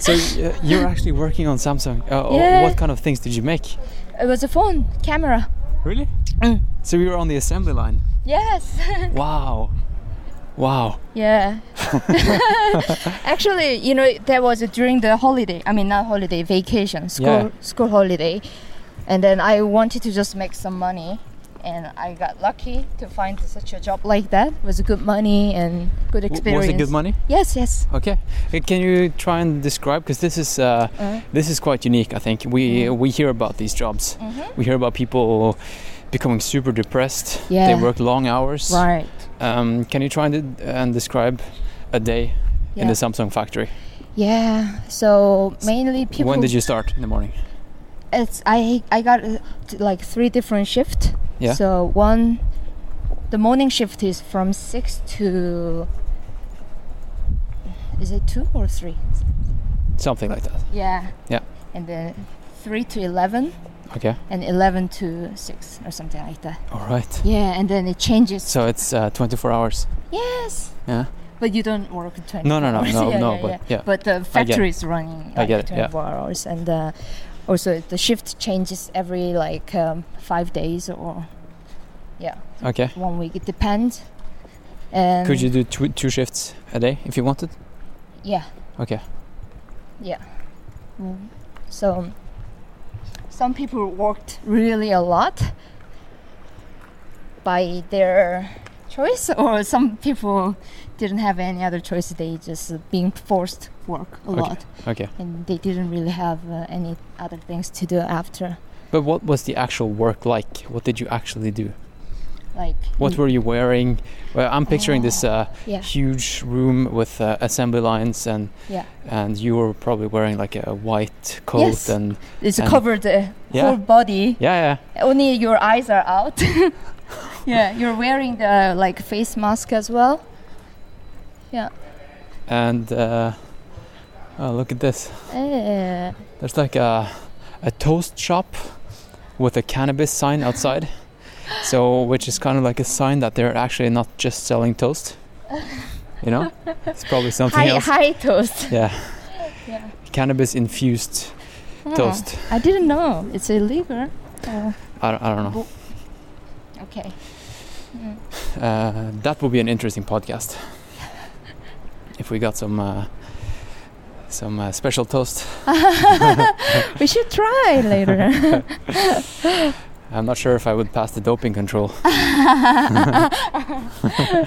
Speaker 4: So uh, you're actually working on Samsung. Uh, oh,
Speaker 3: Yeah.
Speaker 4: What kind of things did you make?
Speaker 3: it was a phone camera.
Speaker 4: Really?
Speaker 3: Mm.
Speaker 4: So you were on the assembly line.
Speaker 3: Yes.
Speaker 4: Wow. Wow.
Speaker 3: yeah. Actually, you know, that was during the holiday. I mean, not holiday, vacation, school,
Speaker 4: Yeah.
Speaker 3: school holiday, and then I wanted to just make some money. And I got lucky to find such a job like that. It was good money and good
Speaker 4: W-
Speaker 3: experience.
Speaker 4: was it good money?
Speaker 3: Yes, yes.
Speaker 4: Okay. Uh, Can you try and describe? Because this is uh,
Speaker 3: Uh.
Speaker 4: this is quite unique. I think we
Speaker 3: Mm-hmm.
Speaker 4: we hear about these jobs. We hear about people becoming super depressed.
Speaker 3: Yeah.
Speaker 4: They work long hours.
Speaker 3: Right.
Speaker 4: Um, can you try and, and describe a day in
Speaker 3: Yeah.
Speaker 4: the Samsung factory?
Speaker 3: Yeah. So mainly people.
Speaker 4: When did you start in the morning?
Speaker 3: It's I I got uh, t- like three different shifts.
Speaker 4: Yeah.
Speaker 3: So one, the morning shift is from six to. Is it two or three?
Speaker 4: Something like that.
Speaker 3: Yeah.
Speaker 4: Yeah.
Speaker 3: And then three to eleven,
Speaker 4: Okay.
Speaker 3: and eleven to six or something like that.
Speaker 4: All right.
Speaker 3: Yeah, and then it changes.
Speaker 4: So it's uh, 24 hours.
Speaker 3: yes.
Speaker 4: Yeah.
Speaker 3: But you don't work 20
Speaker 4: No, no, no, no,
Speaker 3: yeah,
Speaker 4: no,
Speaker 3: yeah,
Speaker 4: but- yeah.
Speaker 3: But the factory is running
Speaker 4: I
Speaker 3: like
Speaker 4: get it, yeah.
Speaker 3: 24 hours. And uh, also the shift changes every like um, five days or, yeah,
Speaker 4: Okay.
Speaker 3: one week. It depends. And
Speaker 4: Could you do two, two shifts a day if you wanted?
Speaker 3: Yeah.
Speaker 4: Okay.
Speaker 3: Yeah. Mm. So some people worked really a lot. by their choice, or some people didn't have any other choice. They just uh, being forced to work a
Speaker 4: Okay.
Speaker 3: lot,
Speaker 4: Okay.
Speaker 3: and they didn't really have uh, any other things to do after.
Speaker 4: But what was the actual work like? What did you actually do?
Speaker 3: Like
Speaker 4: What were you wearing? Well, I'm picturing this uh,
Speaker 3: Mm. yeah.
Speaker 4: huge room with uh, assembly lines, and
Speaker 3: Yeah.
Speaker 4: and you were probably wearing like a white coat
Speaker 3: Yes.
Speaker 4: and
Speaker 3: It's
Speaker 4: and-
Speaker 3: covered the
Speaker 4: yeah,
Speaker 3: whole body.
Speaker 4: yeah, yeah.
Speaker 3: Only your eyes are out. yeah, you're wearing the like face mask as well.
Speaker 4: And uh, oh, look at this.
Speaker 3: Eh,
Speaker 4: There's like a a toast shop with a cannabis sign outside. So, which is kind of like a sign that they're actually not just selling toast. You know, it's probably something
Speaker 3: high,
Speaker 4: else.
Speaker 3: high toast.
Speaker 4: Yeah,
Speaker 3: Yeah.
Speaker 4: cannabis infused
Speaker 3: Hmm.
Speaker 4: toast.
Speaker 3: I didn't know it's illegal. Oh,
Speaker 4: I don't, I don't know.
Speaker 3: okay. Hmm.
Speaker 4: Uh, that would be an interesting podcast if we got some uh, some uh, special toast.
Speaker 3: We should try later.
Speaker 4: I'm not sure if I would pass the doping control, Uh-huh.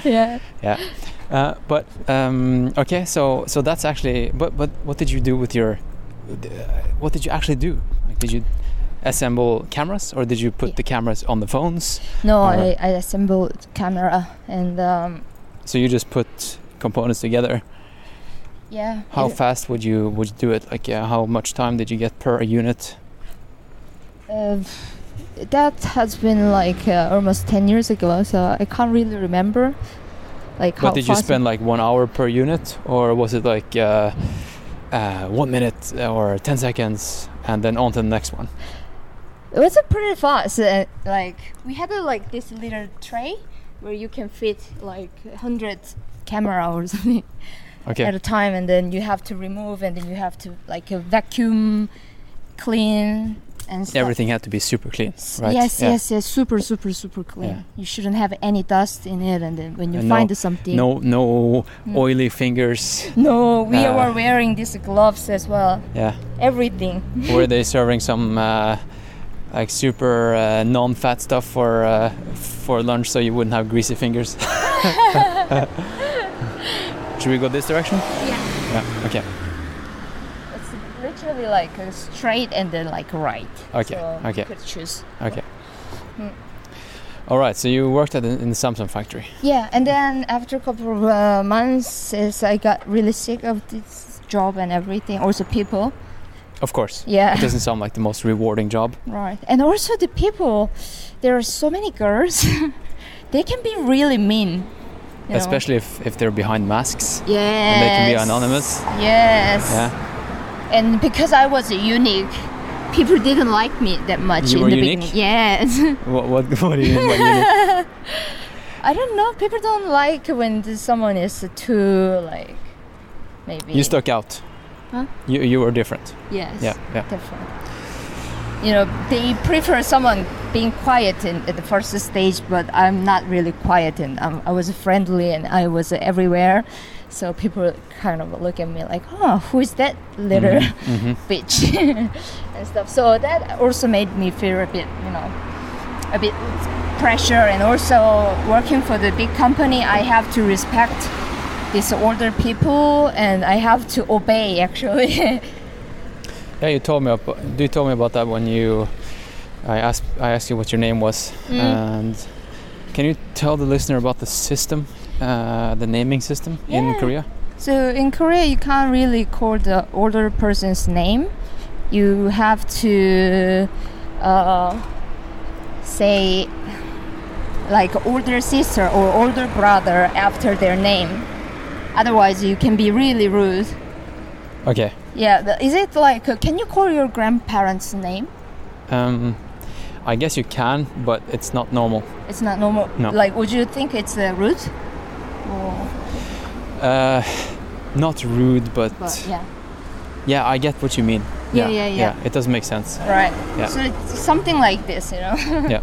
Speaker 3: yeah.
Speaker 4: uh, but um, okay. So so that's actually. But but what did you do with your? uh, What did you actually do? Like, did you assemble cameras, or did you put
Speaker 3: Yeah.
Speaker 4: the cameras on the phones?
Speaker 3: No, I,
Speaker 4: Alright.
Speaker 3: I assembled camera and um,
Speaker 4: So you just put components together.
Speaker 3: yeah.
Speaker 4: How
Speaker 3: it-
Speaker 4: fast would you would you do it? Like uh, how much time did you get per unit?
Speaker 3: Uh, that has been like uh, almost 10 years ago, so I can't really remember. Like how
Speaker 4: But did you
Speaker 3: fast-
Speaker 4: spend like one hour per unit, or was it like uh, uh, one minute or ten seconds, and then on to the next one?
Speaker 3: It was a pretty fast. Uh, like we had a, like this little tray where you can fit like 100 camera or something
Speaker 4: Okay.
Speaker 3: at a time, and then you have to remove, and then you have to like uh, vacuum, clean, and stuff.
Speaker 4: Everything had to be super clean,
Speaker 3: S-
Speaker 4: right?
Speaker 3: Yes,
Speaker 4: Yeah.
Speaker 3: yes, yes. Super, super, super clean.
Speaker 4: Yeah.
Speaker 3: You shouldn't have any dust in it, and then when you
Speaker 4: And no-
Speaker 3: find something,
Speaker 4: No, no
Speaker 3: Mm.
Speaker 4: oily fingers.
Speaker 3: no, we
Speaker 4: Uh,
Speaker 3: were wearing these gloves as well.
Speaker 4: Yeah.
Speaker 3: Everything.
Speaker 4: Were they serving some uh, like super uh, non-fat stuff for uh, for lunch, so you wouldn't have greasy fingers? Should we go this direction?
Speaker 3: Yeah.
Speaker 4: Yeah. Okay.
Speaker 3: It's literally like a straight and then like right.
Speaker 4: Okay,
Speaker 3: So
Speaker 4: okay.
Speaker 3: You could choose.
Speaker 4: Okay.
Speaker 3: Mm.
Speaker 4: All right. So you worked at the, in the Samsung factory.
Speaker 3: Yeah, and then after a couple of uh, months, is I got really sick of this job and everything. Also, people.
Speaker 4: Of course. It
Speaker 3: Yeah,
Speaker 4: doesn't sound like the most rewarding job.
Speaker 3: right. And also the people. There are so many girls. they can be really mean. you know.
Speaker 4: Especially if, if they're behind masks.
Speaker 3: Yes.
Speaker 4: And they can be anonymous.
Speaker 3: Yes.
Speaker 4: Yeah.
Speaker 3: And because I was unique, people didn't like me that much
Speaker 4: You
Speaker 3: in
Speaker 4: were
Speaker 3: the
Speaker 4: unique?
Speaker 3: beginning. Yes.
Speaker 4: What, what, what do you mean by unique?
Speaker 3: I don't know. People don't like when th- someone is too like maybe.
Speaker 4: You stuck out.
Speaker 3: Huh?
Speaker 4: You, you were different.
Speaker 3: Yes.
Speaker 4: Yeah, yeah.
Speaker 3: Different. You know, they prefer someone being quiet in, at the first stage, but I'm not really quiet, and um, I was friendly and I was everywhere. So people kind of look at me like, "Oh, who is that little
Speaker 4: hmm
Speaker 3: bitch?" and stuff. So that also made me feel a bit, you know, a bit pressure. And also working for the big company, I have to respect these older people, and I have to obey actually.
Speaker 4: Yeah, you told me about, you told me about that when you I asked I asked you what your name was.
Speaker 3: Mm.
Speaker 4: And can you tell the listener about the system, uh, the naming system in
Speaker 3: Yeah.
Speaker 4: Korea?
Speaker 3: So in Korea, you can't really call the older person's name. You have to uh, say like older sister or older brother after their name. Otherwise, you can be really rude.
Speaker 4: Okay.
Speaker 3: Yeah, the- is it like? uh, Can you call your grandparents' name?
Speaker 4: Um, I guess you can, but it's not normal.
Speaker 3: It's not normal.
Speaker 4: No.
Speaker 3: Like, would you think it's uh, rude? Or,
Speaker 4: Uh, not rude, but,
Speaker 3: but
Speaker 4: yeah.
Speaker 3: yeah,
Speaker 4: I get what you mean.
Speaker 3: Yeah, yeah, yeah.
Speaker 4: It doesn't make sense.
Speaker 3: right.
Speaker 4: Yeah.
Speaker 3: So it's something like this, you know.
Speaker 4: yeah,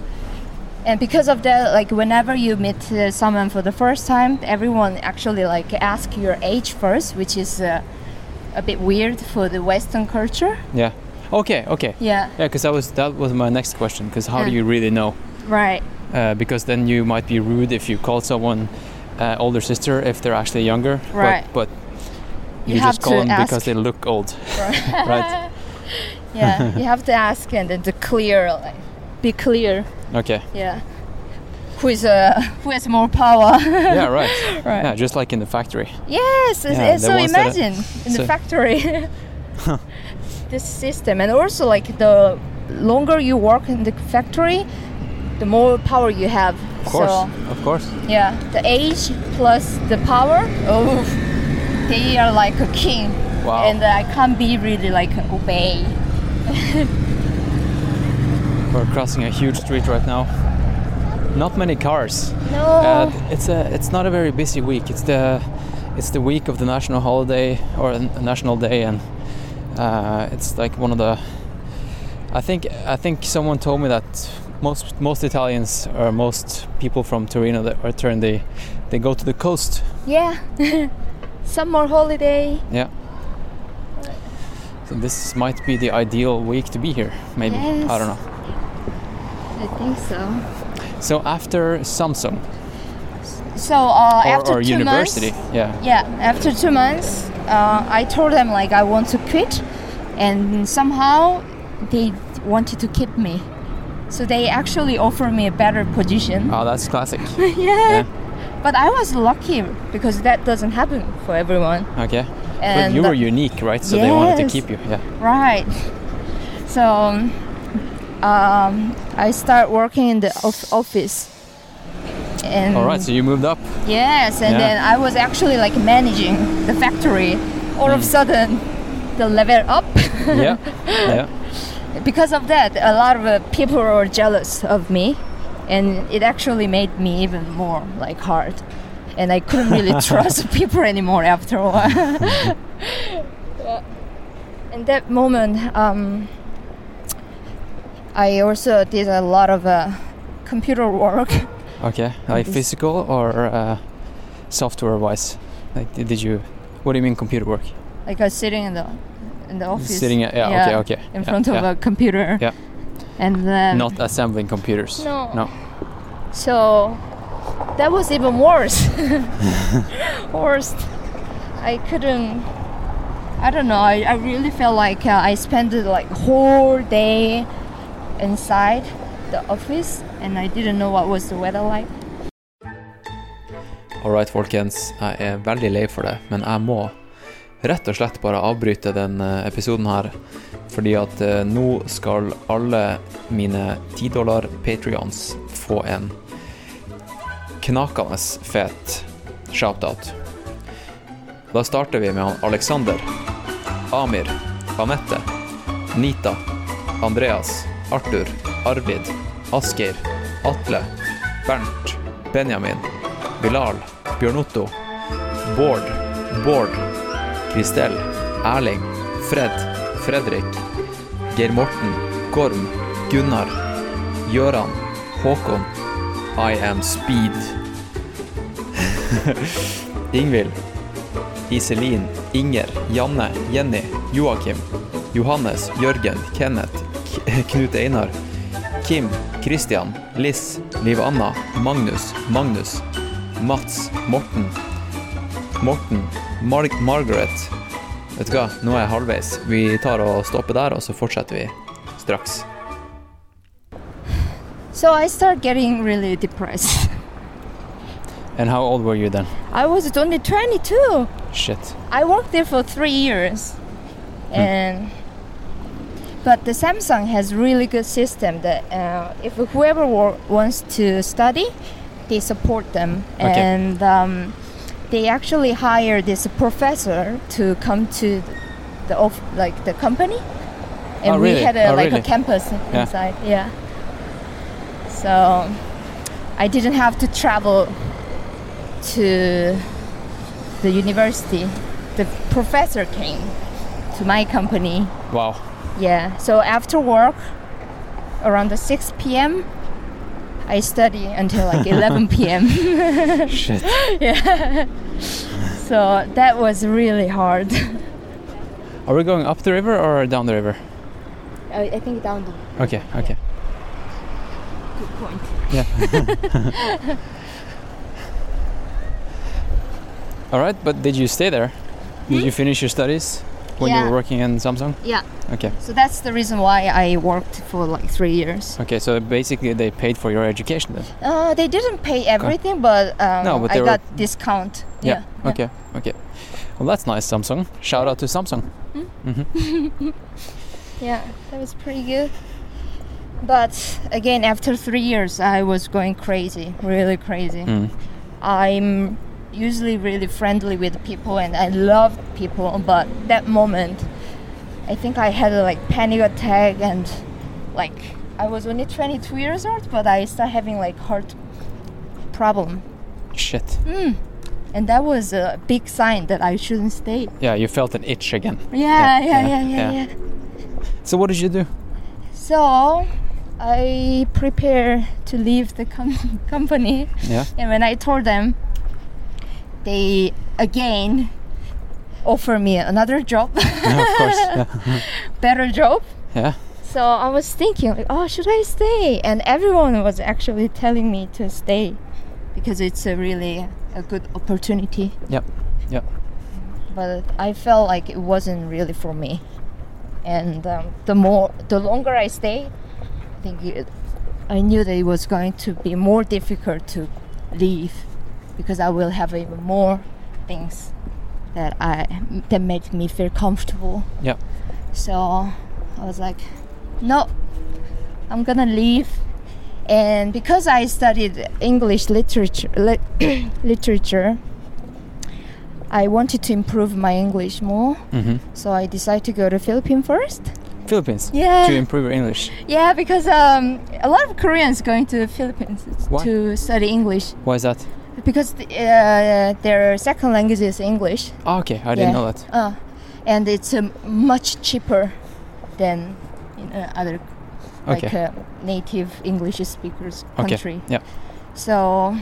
Speaker 3: and because of that like whenever you meet uh, someone for the first time everyone actually like ask your age first which is uh, a bit weird for the western culture
Speaker 4: yeah. Okay, okay.
Speaker 3: yeah
Speaker 4: Yeah, because that was that was my next question. Because how do
Speaker 3: Yeah.
Speaker 4: you really know?
Speaker 3: right
Speaker 4: uh, because then you might be rude if you call someone uh, older sister if they're actually younger.
Speaker 3: Right.
Speaker 4: But, but
Speaker 3: You
Speaker 4: you,
Speaker 3: have
Speaker 4: just call
Speaker 3: to
Speaker 4: them because
Speaker 3: ask.
Speaker 4: they look old, right?
Speaker 3: yeah, you have to ask and then to clear, like, be clear.
Speaker 4: Okay.
Speaker 3: Yeah, who is uh, who has more power?
Speaker 4: Yeah. Right.
Speaker 3: Right.
Speaker 4: Yeah, just like in the factory.
Speaker 3: Yes, it's-
Speaker 4: Yeah,
Speaker 3: it's- so
Speaker 4: the ones that-
Speaker 3: imagine in the
Speaker 4: so-
Speaker 3: factory this system, and also like the longer you work in the factory, the more power you have.
Speaker 4: Of course.
Speaker 3: So
Speaker 4: Of course.
Speaker 3: yeah, the age plus the power. Oh, they are like a king,
Speaker 4: Wow.
Speaker 3: and I can't be really like obey.
Speaker 4: We're crossing a huge street right now. Not many cars.
Speaker 3: No.
Speaker 4: Uh, it's a, it's not a very busy week. It's the it's the week of the national holiday or a national day, and uh, it's like one of the. I think I think someone told me that most most Italians or most people from Torino that are Turin they they go to the coast.
Speaker 3: yeah, summer holiday.
Speaker 4: Yeah. So this might be the ideal week to be here. Maybe I don't
Speaker 3: Yes.
Speaker 4: know.
Speaker 3: I think so.
Speaker 4: So after Samsung
Speaker 3: So uh,
Speaker 4: or,
Speaker 3: after
Speaker 4: or
Speaker 3: two
Speaker 4: university,
Speaker 3: months,
Speaker 4: yeah.
Speaker 3: yeah, after two months, uh, I told them like I want to quit, and somehow they wanted to keep me. So they actually offered me a better position.
Speaker 4: Oh, that's classic.
Speaker 3: yeah.
Speaker 4: yeah.
Speaker 3: But I was lucky because that doesn't happen for everyone.
Speaker 4: Okay.
Speaker 3: And
Speaker 4: but you
Speaker 3: the-
Speaker 4: were unique, right? So they wanted to
Speaker 3: Yes.
Speaker 4: keep you. Yeah.
Speaker 3: Right. So um, um, I start working in the of- office. And
Speaker 4: All right. So you moved up.
Speaker 3: Yes, and
Speaker 4: Yeah.
Speaker 3: then I was actually like managing the factory. All of a sudden, the level up.
Speaker 4: Hmm. Yeah. yeah.
Speaker 3: because of that, a lot of uh, people were jealous of me, and it actually made me even more like hard. And I couldn't really trust people anymore after a while. Yeah. In that moment, um, I also did a lot of uh, computer work.
Speaker 4: Okay. Like
Speaker 3: This-
Speaker 4: physical or uh, software wise? Like, did did you? What do you mean computer work?
Speaker 3: like I was sitting in the in the office.
Speaker 4: Sitting at- yeah, okay, okay.
Speaker 3: In
Speaker 4: Yeah,
Speaker 3: front of
Speaker 4: yeah.
Speaker 3: a computer.
Speaker 4: Yeah.
Speaker 3: And then
Speaker 4: Not assembling computers.
Speaker 3: Um, No.
Speaker 4: No.
Speaker 3: so that was even worse. worse. I couldn't I don't know. I, I really felt like uh, I spent uh, like whole day inside the office and I didn't know what was the weather like.
Speaker 6: All right, folkens. Jeg er veldig lei for det, men jeg må rett og slett bare avbryte den eh, episoden her. Fordi at eh, nå skal alle mine 10 dollar patrions få en knakende fet shoutout. Da starter vi med han Alexander, Amir, Anette, Nita, Andreas, Arthur, Arvid, Asgeir, Atle, Bernt, Benjamin, Bilal, Bjørn Otto, Bård, Bård, Kristel, Erling, Fred, Fredrik, Geir Morten, Gorm, Gunnar, Gjøran, Håkon, I am speed. Ingvild, Iselin, Inger, Janne, Jenny, Joakim, Johannes, Jørgen, Kenneth, K Knut Einar, Kim, Christian, Liss, Liv Anna, Magnus, Magnus, Mats, Morten, Morten, Mar Margaret. Vet du hva, nå er jeg halvveis. Vi tar og stopper der, og så fortsetter vi straks.
Speaker 3: So I started getting really depressed.
Speaker 4: And how old were you then?
Speaker 3: I was only 22.
Speaker 4: Shit.
Speaker 3: I worked there for three years, and but the Samsung has really good system that uh, if whoever wa- wants to study, they support them,
Speaker 4: Okay.
Speaker 3: and um, they actually hire this professor to come to the off like the company, and
Speaker 4: Oh,
Speaker 3: we
Speaker 4: really?
Speaker 3: had a,
Speaker 4: Oh,
Speaker 3: like
Speaker 4: really?
Speaker 3: a campus
Speaker 4: Yeah.
Speaker 3: inside, yeah. So I didn't have to travel to the university. The professor came to my company.
Speaker 4: Wow.
Speaker 3: Yeah. So after work, around the 6 p.m., I study until like 11 p.m.
Speaker 4: Shit.
Speaker 3: So that was really hard.
Speaker 4: Are we going up the river or down the river?
Speaker 3: I I think down the
Speaker 4: Okay. Okay.
Speaker 2: good point.
Speaker 4: All right, but did you stay there? Did you finish your studies when you
Speaker 3: Hmm? Yeah.
Speaker 4: were working in Samsung?
Speaker 3: Yeah.
Speaker 4: Okay.
Speaker 3: So that's the reason why I worked for like three years.
Speaker 4: Okay, so basically they paid for your education then.
Speaker 3: Uh, they didn't pay everything, but, um,
Speaker 4: No, but
Speaker 3: I
Speaker 4: they were-
Speaker 3: got discount.
Speaker 4: Okay. Okay. Well, that's nice, Samsung. Shout out to Samsung.
Speaker 3: Yeah, that was pretty good. But again, after three years, I was going crazy, really crazy. I'm usually really friendly with people and I love people, but that moment, I think I had a like panic attack and like I was only 22 years old, but I started having like heart problem,
Speaker 4: Shit.
Speaker 3: Hmm? and that was a big sign that I shouldn't stay.
Speaker 4: Yeah, you felt an itch again.
Speaker 3: Yeah, yeah,
Speaker 4: yeah,
Speaker 3: yeah, yeah,
Speaker 4: yeah.
Speaker 3: yeah.
Speaker 4: So what did you do?
Speaker 3: So I prepare to leave the com- company,
Speaker 4: Yeah.
Speaker 3: and when I told them, they again offer me another job,
Speaker 4: Yeah, of course. Yeah.
Speaker 3: better job.
Speaker 4: Yeah.
Speaker 3: So I was thinking, like, oh, should I stay? And everyone was actually telling me to stay because it's a really a good opportunity.
Speaker 4: Yep. Yep.
Speaker 3: But I felt like it wasn't really for me. And um, the more, the longer I stayed, I think it, I knew that it was going to be more difficult to leave because I will have even more things that I that made me feel comfortable.
Speaker 4: Yep.
Speaker 3: So I was like, no, I'm gonna leave. And because I studied English literature, lit- literature, I wanted to improve my English more.
Speaker 4: Mhm.
Speaker 3: So I decided to go to Philippines first.
Speaker 4: Philippines.
Speaker 3: Yeah.
Speaker 4: To improve your English.
Speaker 3: Yeah, because um, a lot of Koreans going to the Philippines
Speaker 4: Why?
Speaker 3: to study English
Speaker 4: Why is that?
Speaker 3: because the, uh, their second language is English.
Speaker 4: Oh, okay, I
Speaker 3: Yeah.
Speaker 4: didn't know that.
Speaker 3: Uh, and it's um, much cheaper than in uh, other like
Speaker 4: Okay.
Speaker 3: uh, native English speakers
Speaker 4: Okay.
Speaker 3: country.
Speaker 4: Yeah.
Speaker 3: So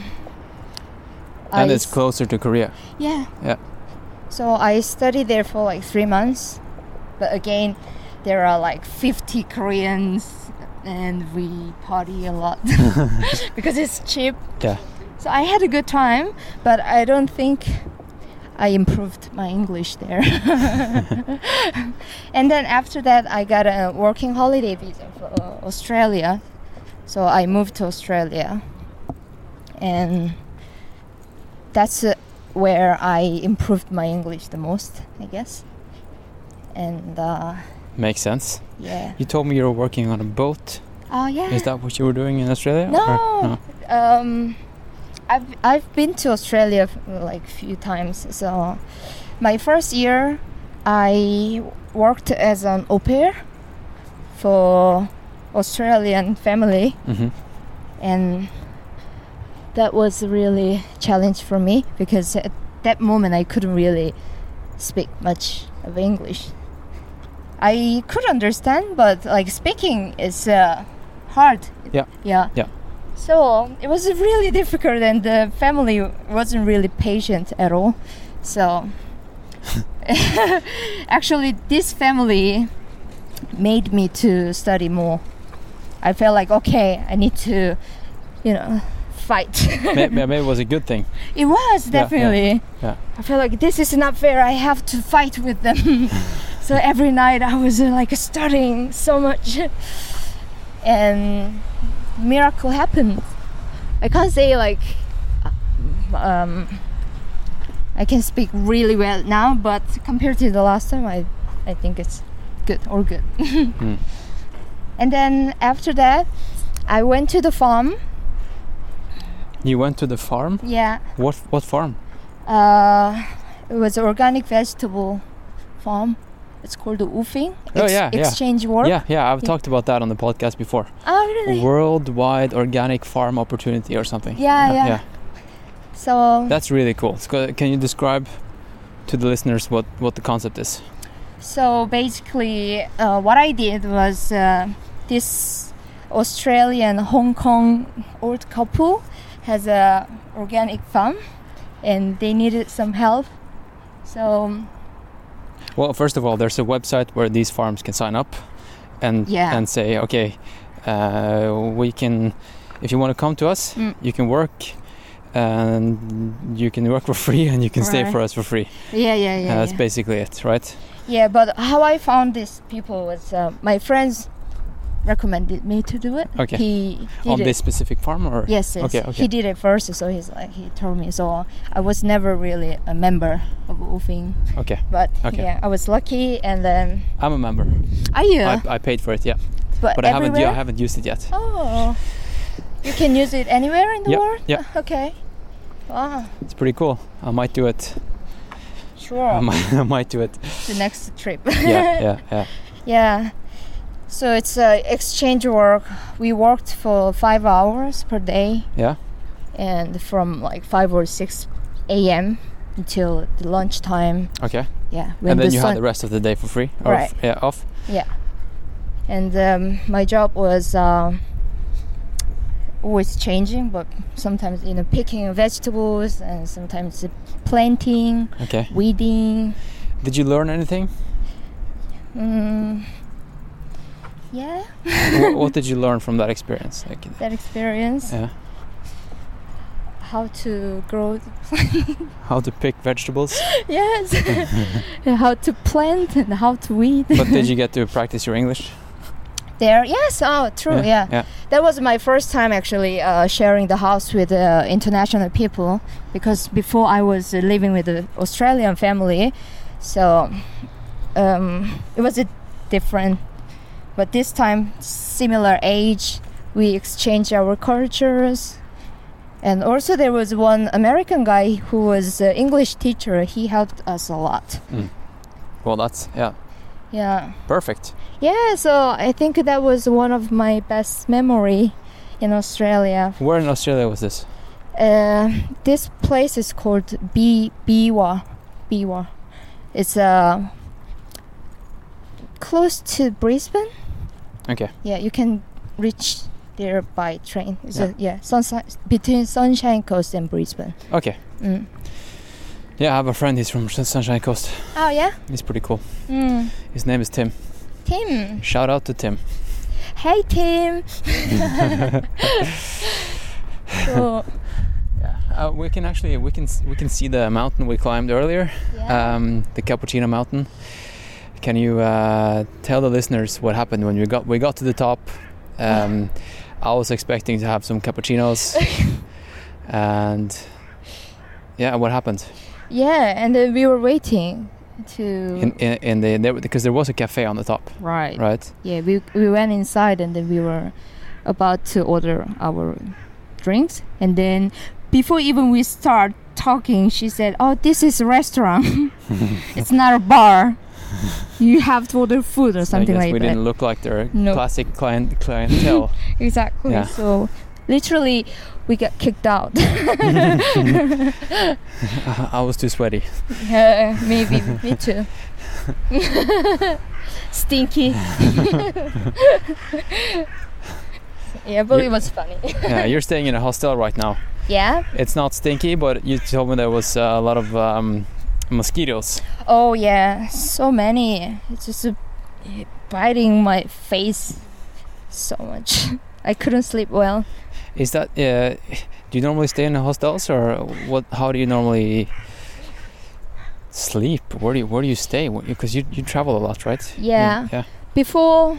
Speaker 4: And it's
Speaker 3: s-
Speaker 4: closer to Korea.
Speaker 3: Yeah.
Speaker 4: Yeah.
Speaker 3: So I studied there for like three months, but again, there are like 50 Koreans, and we party a lot because it's cheap.
Speaker 4: Yeah.
Speaker 3: So I had a good time, but I don't think I improved my English there. and then after that, I got a working holiday visa for uh, Australia. So I moved to Australia. And that's uh, where I improved my English the most, I guess. And uh,
Speaker 4: Makes sense.
Speaker 3: yeah.
Speaker 4: You told me you were working on a boat.
Speaker 3: Oh, yeah.
Speaker 4: Is that what you were doing in Australia? or-
Speaker 3: No. Um, I've I've been to Australia f- like few times. So my first year, I worked as an au pair for Australian family,
Speaker 4: Mhm.
Speaker 3: and that was really challenge for me because at that moment I couldn't really speak much of English. I could understand, but like speaking is uh, hard.
Speaker 4: Yeah.
Speaker 3: Yeah.
Speaker 4: Yeah.
Speaker 3: So it was really difficult, and the family wasn't really patient at all. So actually, this family made me to study more. I felt like okay, I need to, you know, fight.
Speaker 4: May- may- Maybe it was a good thing.
Speaker 3: It was
Speaker 4: Yeah, yeah,
Speaker 3: definitely.
Speaker 4: yeah.
Speaker 3: I feel like this is not fair. I have to fight with them. so every night I was uh, like studying so much, and miracle happened. I can't say like, um, I can speak really well now, but compared to the last time, I, I think it's good or good.
Speaker 4: Hmm.
Speaker 3: And then after that, I went to the farm.
Speaker 4: You went to the farm.
Speaker 3: Yeah.
Speaker 4: What what farm?
Speaker 3: Uh, it was organic vegetable farm. It's called the Ufing.
Speaker 4: Oh, yeah, yeah.
Speaker 3: Exchange Work.
Speaker 4: Yeah, yeah. I've
Speaker 3: Yeah.
Speaker 4: talked about that on the podcast before.
Speaker 3: Oh, really?
Speaker 4: Worldwide organic farm opportunity or something. Uh,
Speaker 3: Yeah, yeah.
Speaker 4: yeah.
Speaker 3: So,
Speaker 4: That's really cool. It's go- Can you describe to the listeners what what the concept is?
Speaker 3: so basically, uh, what I did was uh, this Australian Hong Kong old couple has a organic farm, and they needed some help. So
Speaker 4: Well, first of all, there's a website where these farms can sign up, and
Speaker 3: Yeah.
Speaker 4: and say, okay, uh, we can if you want to come to us,
Speaker 3: Mm.
Speaker 4: you can work, and you can work for free, and you can stay
Speaker 3: Right.
Speaker 4: for us for free.
Speaker 3: Yeah, yeah, yeah.
Speaker 4: and that's
Speaker 3: yeah.
Speaker 4: basically it, right?
Speaker 3: Yeah, but how I found these people was uh, my friends recommended me to do it.
Speaker 4: Okay.
Speaker 3: He did
Speaker 4: On
Speaker 3: it.
Speaker 4: this specific farm, or
Speaker 3: Yes, yes.
Speaker 4: Okay, okay.
Speaker 3: He did it first, so he's like he told me. So I was never really a member of Wolfing,
Speaker 4: okay,
Speaker 3: but
Speaker 4: Okay.
Speaker 3: yeah, I was lucky. And then
Speaker 4: I'm a member.
Speaker 3: are you?
Speaker 4: I, I paid for it, yeah,
Speaker 3: but
Speaker 4: but I haven't,
Speaker 3: everywhere.
Speaker 4: yeah, I haven't used it yet.
Speaker 3: Oh, you can use it anywhere in the
Speaker 4: Yep,
Speaker 3: world.
Speaker 4: yep.
Speaker 3: Okay. Wow.
Speaker 4: It's pretty cool. I might do it.
Speaker 3: Sure.
Speaker 4: I, might, I might do it.
Speaker 3: the next trip.
Speaker 4: Um, Yeah, yeah, yeah.
Speaker 3: Yeah. So it's uh, exchange work. We worked for five hours per day.
Speaker 4: Yeah.
Speaker 3: And from like five or six a.m. until the lunchtime.
Speaker 4: Okay.
Speaker 3: Yeah.
Speaker 4: and then you
Speaker 3: sun-
Speaker 4: had the rest of the day for free, or
Speaker 3: Right.
Speaker 4: f- yeah, off.
Speaker 3: And um, my job was um always changing, but sometimes you know picking vegetables and sometimes planting,
Speaker 4: Okay.
Speaker 3: weeding.
Speaker 4: Did you learn anything?
Speaker 3: Mm, yeah,
Speaker 4: what, what did you learn from that experience? Like,
Speaker 3: that experience.
Speaker 4: yeah,
Speaker 3: How to grow
Speaker 4: how to pick vegetables.
Speaker 3: Yes. And how to plant and how to weed.
Speaker 4: but did you get to practice your English?
Speaker 3: there, yes. Oh, true. Yeah.
Speaker 4: Yeah.
Speaker 3: That was my first time actually uh, sharing the house with uh, international people because before I was uh, living with an Australian family, so um, it was a different. But this time, similar age, we exchanged our cultures. And also, there was one American guy who was an English teacher. He helped us a lot.
Speaker 4: Well, that's yeah,
Speaker 3: Yeah.
Speaker 4: perfect.
Speaker 3: Yeah, so I think that was one of my best memory in Australia.
Speaker 4: Where in Australia was this?
Speaker 3: Uh, this place is called B Biwa. Biwa. It's uh, close to Brisbane.
Speaker 4: Okay.
Speaker 3: Yeah, you can reach there by train. It's yeah, a, yeah sunshine, between Sunshine Coast and Brisbane.
Speaker 4: Okay.
Speaker 3: Mm.
Speaker 4: Yeah, I have a friend. He's from Sun- Sunshine Coast.
Speaker 3: Oh yeah.
Speaker 4: He's pretty cool.
Speaker 3: Mm.
Speaker 4: His name is Tim.
Speaker 3: Tim.
Speaker 4: Shout out to Tim.
Speaker 3: Hey Tim. so,
Speaker 4: Uh, we can actually we can s- we can see the mountain we climbed earlier,
Speaker 3: yeah.
Speaker 4: um, the Cappuccino Mountain. Can you uh, tell the listeners what happened when we got we got to the top? Um, I was expecting to have some cappuccinos, and yeah, what happened?
Speaker 3: yeah, and then we were waiting to
Speaker 4: In, in, in the there, because there was a cafe on the top,
Speaker 3: Mm. Right.
Speaker 4: right?
Speaker 3: Yeah, we we went inside and then we were about to order our drinks and then before even we start talking she said, "Oh, this is a restaurant. it's not a bar. You have to order food or something
Speaker 4: I guess
Speaker 3: like
Speaker 4: we
Speaker 3: that."
Speaker 4: didn't look like their
Speaker 3: No.
Speaker 4: classic client clientele.
Speaker 3: Exactly.
Speaker 4: Yeah.
Speaker 3: So literally we got kicked out.
Speaker 4: Uh, I was too sweaty.
Speaker 3: yeah, maybe me too. Stinky. yeah, but
Speaker 4: You-
Speaker 3: it was funny.
Speaker 4: yeah, you're staying in a hostel right now.
Speaker 3: Yeah.
Speaker 4: It's not stinky, but you told me there was uh, a lot of um, mosquitoes.
Speaker 3: Oh yeah, so many. It's just uh, biting my face so much. I couldn't sleep well.
Speaker 4: Is that? Uh, do you normally stay in hostels, or what? How do you normally sleep? Where do you Where do you stay? Because you, you travel a lot, right?
Speaker 3: Yeah.
Speaker 4: Yeah.
Speaker 3: Before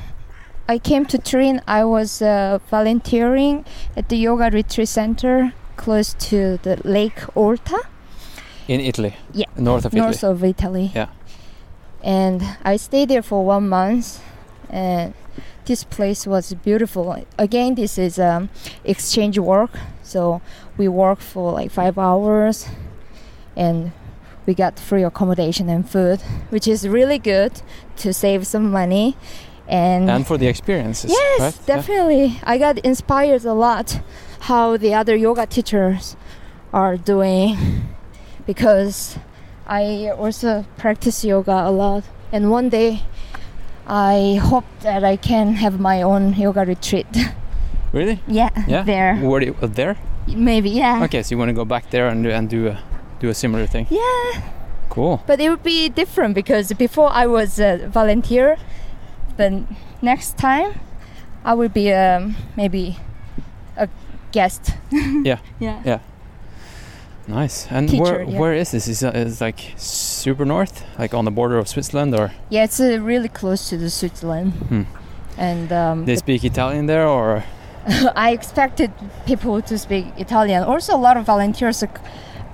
Speaker 3: I came to Turin, I was uh, volunteering at the yoga retreat center close to the Lake Orta,
Speaker 4: In Italy.
Speaker 3: Yeah.
Speaker 4: North of
Speaker 3: north
Speaker 4: Italy.
Speaker 3: of Italy.
Speaker 4: Yeah.
Speaker 3: And I stayed there for one month, and this place was beautiful. Again, this is um, exchange work, so we work for like five hours, and we got free accommodation and food, which is really good to save some money. And,
Speaker 4: And for the experiences.
Speaker 3: yes,
Speaker 4: right? Yeah.
Speaker 3: definitely, I got inspired a lot how the other yoga teachers are doing because I also practice yoga a lot. And one day, I hope that I can have my own yoga retreat.
Speaker 4: Really?
Speaker 3: yeah,
Speaker 4: Yeah.
Speaker 3: there.
Speaker 4: Where do you, uh, there?
Speaker 3: Maybe, yeah.
Speaker 4: Okay, so you want to go back there and do, and do a do a similar thing.
Speaker 3: Yeah,
Speaker 4: Cool.
Speaker 3: but it would be different because before I was a volunteer, but next time I will be um, maybe a guest.
Speaker 4: Yeah.
Speaker 3: yeah.
Speaker 4: Nice. And
Speaker 3: Teacher,
Speaker 4: where
Speaker 3: yeah.
Speaker 4: where is this? Is it is like super north, like on the border of Switzerland, or
Speaker 3: Yeah, it's uh, really close to the Switzerland.
Speaker 4: Hmm.
Speaker 3: And um,
Speaker 4: they speak Italian there, or
Speaker 3: I expected people to speak Italian. Also, a lot of volunteers are, c-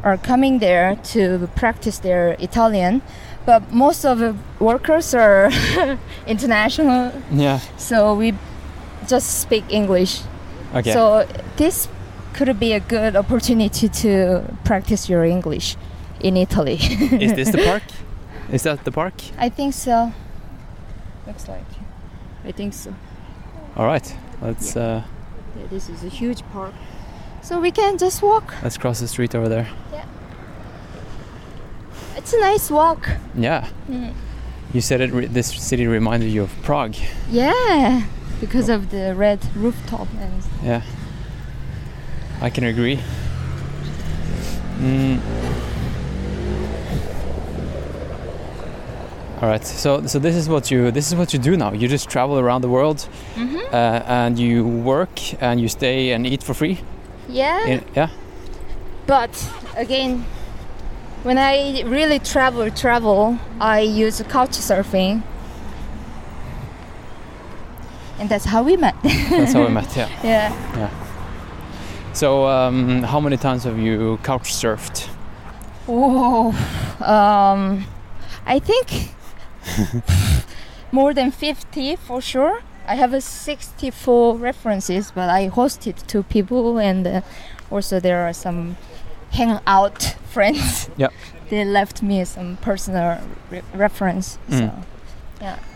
Speaker 3: are coming there to practice their Italian, but most of the workers are international,
Speaker 4: yeah?
Speaker 3: so we just speak English.
Speaker 4: Okay.
Speaker 3: So this could be a good opportunity to practice your English in Italy.
Speaker 4: is this the park? Is that the park?
Speaker 3: I think so. Looks like. I think so.
Speaker 4: All right. Let's uh,
Speaker 3: Yeah, this is a huge park. So we can just walk.
Speaker 4: let's cross the street over there.
Speaker 3: It's a nice walk.
Speaker 4: Yeah.
Speaker 3: Mm-hmm.
Speaker 4: You said it. Re- this city reminded you of Prague.
Speaker 3: Yeah, because of the red rooftop and
Speaker 4: Yeah. I can agree. Mm. All right. So so this is what you this is what you do now. You just travel around the world, uh, and you work and you stay and eat for free.
Speaker 3: yeah.
Speaker 4: In, yeah.
Speaker 3: But again, when I really travel, travel, I use couch surfing, and that's how we met.
Speaker 4: That's how we met. Yeah.
Speaker 3: yeah.
Speaker 4: So um, how many times have you couch surfed?
Speaker 3: Oh, um, I think more than 50 for sure. I have a 64 references, but I hosted two people, and uh, also there are some hangout friends.
Speaker 4: Yep.
Speaker 3: They left me some personal re- reference.
Speaker 4: Mm.
Speaker 3: So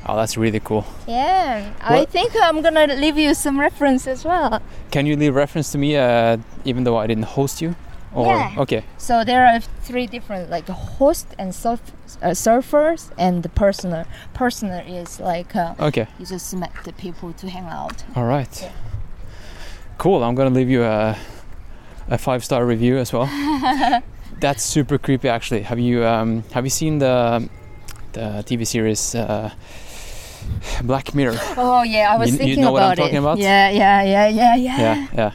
Speaker 4: Oh, that's really cool.
Speaker 3: yeah, I
Speaker 4: Well-
Speaker 3: think I'm gonna leave you some reference as well.
Speaker 4: Can you leave reference to me, uh, even though I didn't host you? Or
Speaker 3: Yeah.
Speaker 4: okay.
Speaker 3: So there are three different like host and surf, uh, surfers and the personal. Personal is like. Uh,
Speaker 4: Okay.
Speaker 3: you just met the people to hang out.
Speaker 4: All right. Cool. I'm gonna leave you a a five star review as well. That's super creepy, actually. Have you um, have you seen the the TV series uh, Black Mirror?
Speaker 3: Oh yeah, I was
Speaker 4: You- you
Speaker 3: thinking
Speaker 4: know what I'm
Speaker 3: about it.
Speaker 4: talking about?
Speaker 3: Yeah, yeah, yeah, yeah, yeah.
Speaker 4: yeah, yeah.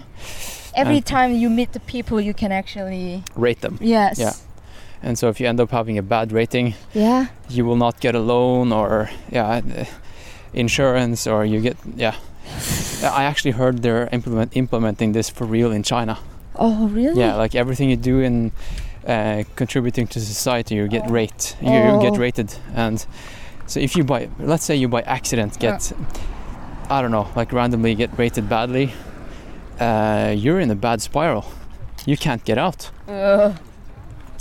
Speaker 3: Every
Speaker 4: and-
Speaker 3: time you meet the people, you can actually
Speaker 4: Rate them.
Speaker 3: yes.
Speaker 4: Yeah. And so if you end up having a bad rating,
Speaker 3: Yeah.
Speaker 4: you will not get a loan or yeah, uh, insurance or you get yeah. I actually heard they're implement, implementing this for real in China.
Speaker 3: Oh really?
Speaker 4: Yeah, like everything you do in uh, contributing to society, you get
Speaker 3: Oh.
Speaker 4: rate. You you
Speaker 3: Oh.
Speaker 4: get rated, and so if you by let's say you by accident
Speaker 3: Yeah.
Speaker 4: get, I don't know, like randomly get rated badly, uh, you're in a bad spiral. You can't get out.
Speaker 3: Ugh.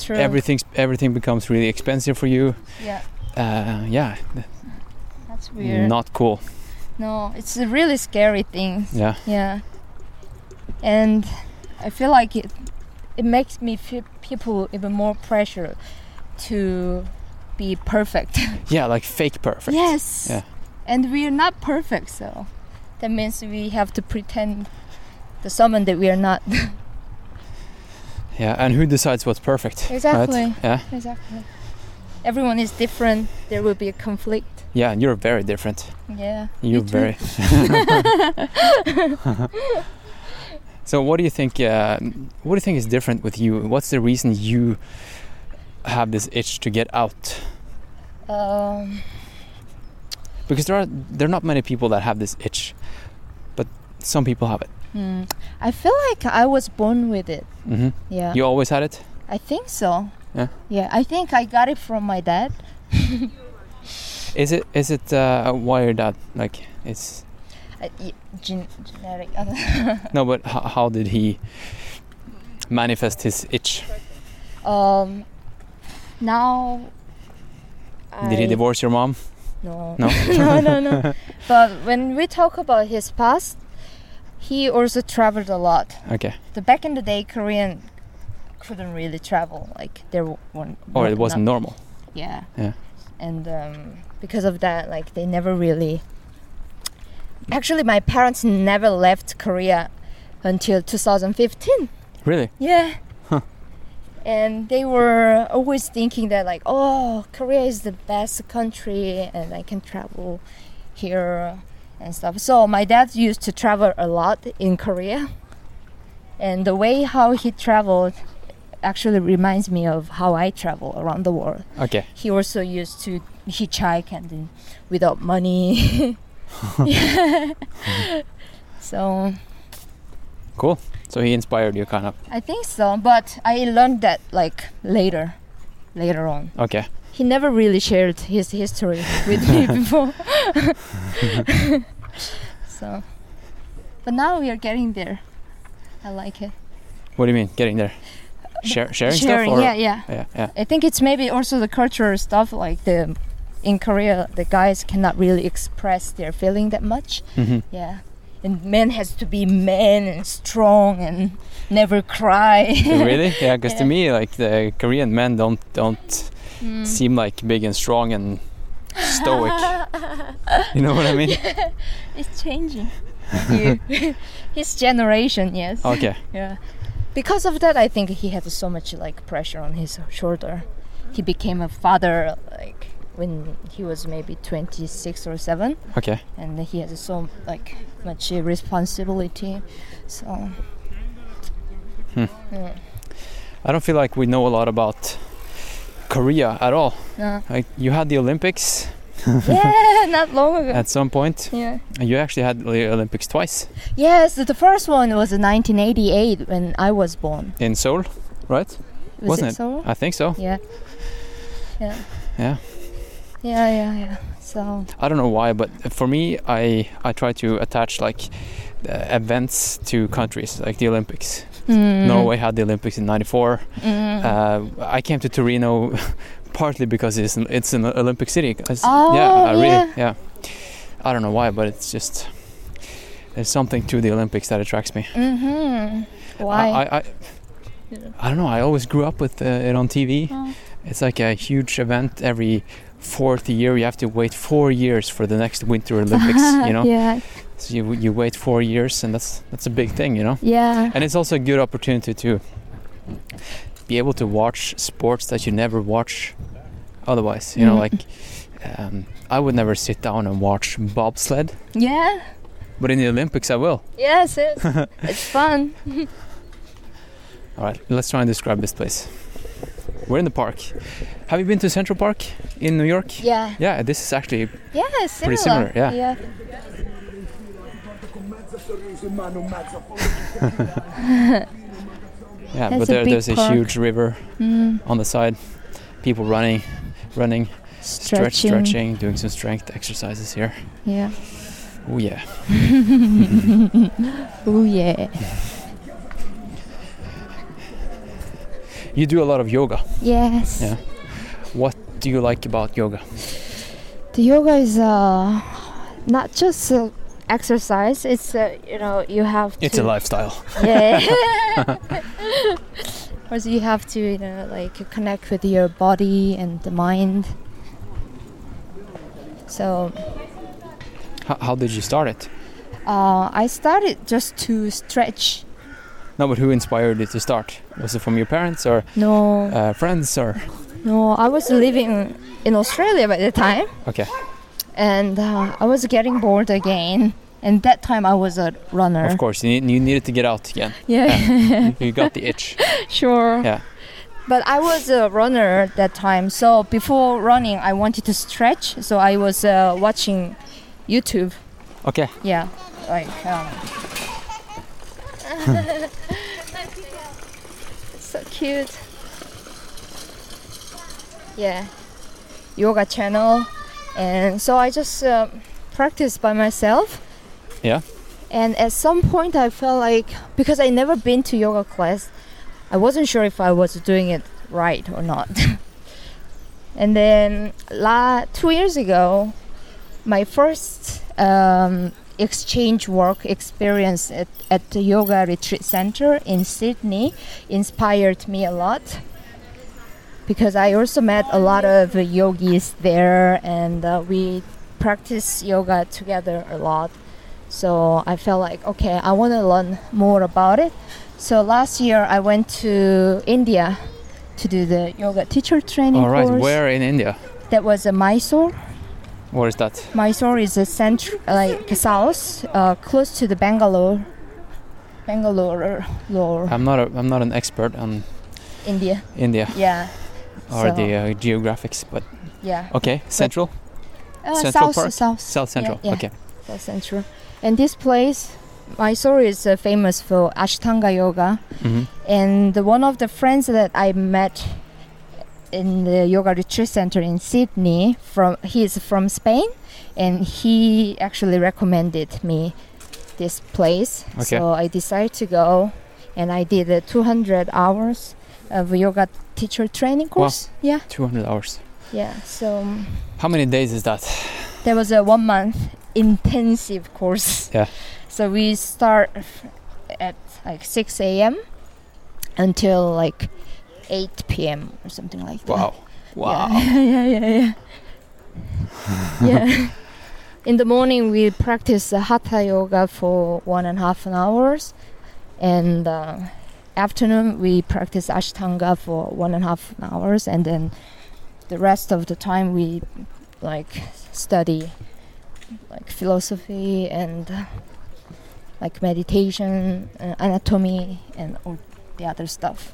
Speaker 3: true.
Speaker 4: Everything's everything becomes really expensive for you.
Speaker 3: yeah,
Speaker 4: Uh, yeah,
Speaker 3: that's weird.
Speaker 4: not cool.
Speaker 3: no, it's a really scary thing.
Speaker 4: Yeah,
Speaker 3: Yeah. And I feel like it it makes me feel people even more pressure to be perfect.
Speaker 4: yeah, like fake perfect.
Speaker 3: Yes.
Speaker 4: Yeah.
Speaker 3: And we are not perfect, so that means we have to pretend to someone that we are not.
Speaker 4: Yeah, and who decides what's perfect? right?
Speaker 3: Exactly.
Speaker 4: Yeah,
Speaker 3: exactly. Everyone is different. There will be a conflict.
Speaker 4: yeah, and you're very different.
Speaker 3: Yeah.
Speaker 4: You're
Speaker 3: too.
Speaker 4: very. so, what do you think? Uh, what do you think is different with you? What's the reason you have this itch to get out?
Speaker 3: Um,
Speaker 4: Because there are there are not many people that have this itch, but some people have it.
Speaker 3: hmm. I feel like I was born with it.
Speaker 4: hmm
Speaker 3: Yeah.
Speaker 4: You always had it.
Speaker 3: I think so.
Speaker 4: Yeah.
Speaker 3: Yeah. I think I got it from my dad.
Speaker 4: Is it is it uh, wired out? Like it's
Speaker 3: Uh, y- gen- genetic.
Speaker 4: no, but how, how did he manifest his itch?
Speaker 3: um. Now.
Speaker 4: Did he
Speaker 3: I-
Speaker 4: divorce your mom?
Speaker 3: No.
Speaker 4: No?
Speaker 3: no, no, no. But when we talk about his past, he also traveled a lot.
Speaker 4: Okay.
Speaker 3: The back in the day, Korean couldn't really travel. Like there weren't.
Speaker 4: Or
Speaker 3: not-
Speaker 4: Oh, it wasn't
Speaker 3: not-
Speaker 4: normal.
Speaker 3: Yeah.
Speaker 4: Yeah.
Speaker 3: And um, because of that, like they never really. Actually, my parents never left Korea until 2015.
Speaker 4: Really?
Speaker 3: Yeah. And they were always thinking that like, oh, Korea is the best country and I can travel here and stuff. So my dad used to travel a lot in Korea. And the way how he traveled actually reminds me of how I travel around the world.
Speaker 4: Okay.
Speaker 3: He also used to hitchhike and then without money. so
Speaker 4: Cool. So he inspired you, kind of.
Speaker 3: I think so, but I learned that like later, later on.
Speaker 4: Okay.
Speaker 3: He never really shared his history with me before. so, but now we are getting there. I like it.
Speaker 4: What do you mean, getting there? Share, sharing, stuff? Or?
Speaker 3: yeah, yeah.
Speaker 4: yeah. Yeah.
Speaker 3: I think it's maybe also the cultural stuff, like the in Korea, the guys cannot really express their feeling that much.
Speaker 4: Mhm.
Speaker 3: Yeah. And men has to be men and strong and never cry.
Speaker 4: really? Yeah, because to
Speaker 3: Yeah. Mm.
Speaker 4: me, like the Korean men don't don't seem like big and strong and stoic. you know what I mean?
Speaker 3: it's changing. You- His generation, yes.
Speaker 4: Okay.
Speaker 3: Yeah. Because of that, I think he had so much like pressure on his shoulder. He became a father like when he was maybe 26 or 7
Speaker 4: Okay.
Speaker 3: and he has so like much responsibility. So
Speaker 4: I don't feel like we know a lot about Korea at all.
Speaker 3: No.
Speaker 4: Like you had the Olympics
Speaker 3: yeah, not long ago.
Speaker 4: at some point.
Speaker 3: yeah.
Speaker 4: and You actually had the Olympics twice
Speaker 3: Yes, the first one was in 1988 when I was born.
Speaker 4: in Seoul, right?
Speaker 3: Was
Speaker 4: Wasn't
Speaker 3: it
Speaker 4: it?
Speaker 3: so?
Speaker 4: I think so.
Speaker 3: Yeah. Yeah.
Speaker 4: Yeah.
Speaker 3: Yeah, yeah, yeah. So
Speaker 4: I don't know why, but for me, I I try to attach like uh, events to countries, like the Olympics.
Speaker 3: mm,
Speaker 4: Norway had the Olympics in '94.
Speaker 3: mm.
Speaker 4: Uh, I came to Torino partly because it's an, it's an Olympic city. 'cause-
Speaker 3: Oh,
Speaker 4: yeah, I
Speaker 3: yeah.
Speaker 4: really, yeah. I don't know why, but it's just there's something to the Olympics that attracts me.
Speaker 3: hmm
Speaker 4: I
Speaker 3: Why?
Speaker 4: I, I,
Speaker 3: Yeah.
Speaker 4: I don't know. I always grew up with uh, it on TV.
Speaker 3: Oh.
Speaker 4: It's like a huge event every fourth year. You have to wait four years for the next Winter Olympics. you know,
Speaker 3: Yeah,
Speaker 4: so you you wait four years, and that's that's a big thing. You know.
Speaker 3: yeah.
Speaker 4: And it's also a good opportunity to be able to watch sports that you never watch otherwise. You know,
Speaker 3: Mhm.
Speaker 4: like um, I would never sit down and watch bobsled,
Speaker 3: Yeah.
Speaker 4: but in the Olympics I will.
Speaker 3: Yes, it's, it's fun.
Speaker 4: All right, let's try and describe this place. We're in the park. Have you been to Central Park in New York?
Speaker 3: Yeah.
Speaker 4: Yeah, this is actually
Speaker 3: Yeah, it's similar.
Speaker 4: Pretty similar, yeah.
Speaker 3: Yeah.
Speaker 4: yeah,
Speaker 3: That's
Speaker 4: but
Speaker 3: a
Speaker 4: there,
Speaker 3: big
Speaker 4: there's a
Speaker 3: park.
Speaker 4: huge river on the side. People running, running, stretch,
Speaker 3: Stretching.
Speaker 4: stretching, doing some strength exercises here.
Speaker 3: Yeah.
Speaker 4: Oh yeah.
Speaker 3: Oh yeah.
Speaker 4: You do a lot of yoga.
Speaker 3: Yes.
Speaker 4: Yeah. What do you like about yoga?
Speaker 3: The yoga is uh, not just uh, exercise. It's uh, you know you have to.
Speaker 4: It's a lifestyle.
Speaker 3: Yeah. also, you have to you know like connect with your body and the mind. So
Speaker 4: How, how did you start it?
Speaker 3: uh, I started just to stretch.
Speaker 4: No, but who inspired you to start? Was it from your parents or
Speaker 3: No,
Speaker 4: uh, friends or?
Speaker 3: no, I was living in Australia by the time.
Speaker 4: Okay.
Speaker 3: and uh, I was getting bored again. And that time I was a runner.
Speaker 4: Of course, you, need, you needed to get out again.
Speaker 3: Yeah,
Speaker 4: You got the itch.
Speaker 3: sure.
Speaker 4: Yeah.
Speaker 3: But I was a runner at that time. So before running, I wanted to stretch. So I was uh, watching YouTube.
Speaker 4: Okay.
Speaker 3: Yeah, like. Um, so cute. Yeah, yoga channel, and so I just uh, practiced by myself.
Speaker 4: Yeah.
Speaker 3: And at some point, I felt like because I never been to yoga class, I wasn't sure if I was doing it right or not. and then la two years ago, my first um, exchange work experience at, at the yoga retreat center in Sydney inspired me a lot because I also met a lot of yogis there and uh, we practice yoga together a lot. So I felt like, okay, I want to learn more about it. So last year I went to India to do the yoga teacher training
Speaker 4: All right.
Speaker 3: course.
Speaker 4: Where in India?
Speaker 3: That was in Mysore.
Speaker 4: What is that?
Speaker 3: Mysore is a central, like south, uh, close to the Bangalore. Bangalore or
Speaker 4: I'm not a, I'm not an expert on
Speaker 3: India.
Speaker 4: India
Speaker 3: Yeah.
Speaker 4: or
Speaker 3: So,
Speaker 4: the uh, geographics, but
Speaker 3: yeah.
Speaker 4: okay, central,
Speaker 3: Uh,
Speaker 4: Central
Speaker 3: south,
Speaker 4: Park?
Speaker 3: south,
Speaker 4: south central.
Speaker 3: yeah.
Speaker 4: Okay,
Speaker 3: south central. And this place, Mysore is uh, famous for Ashtanga yoga.
Speaker 4: hmm
Speaker 3: And the- one of the friends that I met in the yoga retreat center in Sydney, from he's from Spain, and he actually recommended me this place.
Speaker 4: Okay.
Speaker 3: So I decided to go, and I did a 200 hours of yoga teacher training course. Yeah,
Speaker 4: 200 hours.
Speaker 3: yeah. So um,
Speaker 4: How many days is that?
Speaker 3: there was a one month intensive course.
Speaker 4: Yeah.
Speaker 3: So we start at like 6 a.m. until like 8 p.m. or something like that.
Speaker 4: Wow, wow.
Speaker 3: Yeah, yeah, yeah, yeah. yeah. In the morning, we practice the hatha yoga for one and a half an hours, and uh, afternoon we practice ashtanga for one and a half an hours, and then the rest of the time we like study like philosophy and uh, like meditation, uh, anatomy, and all the other stuff.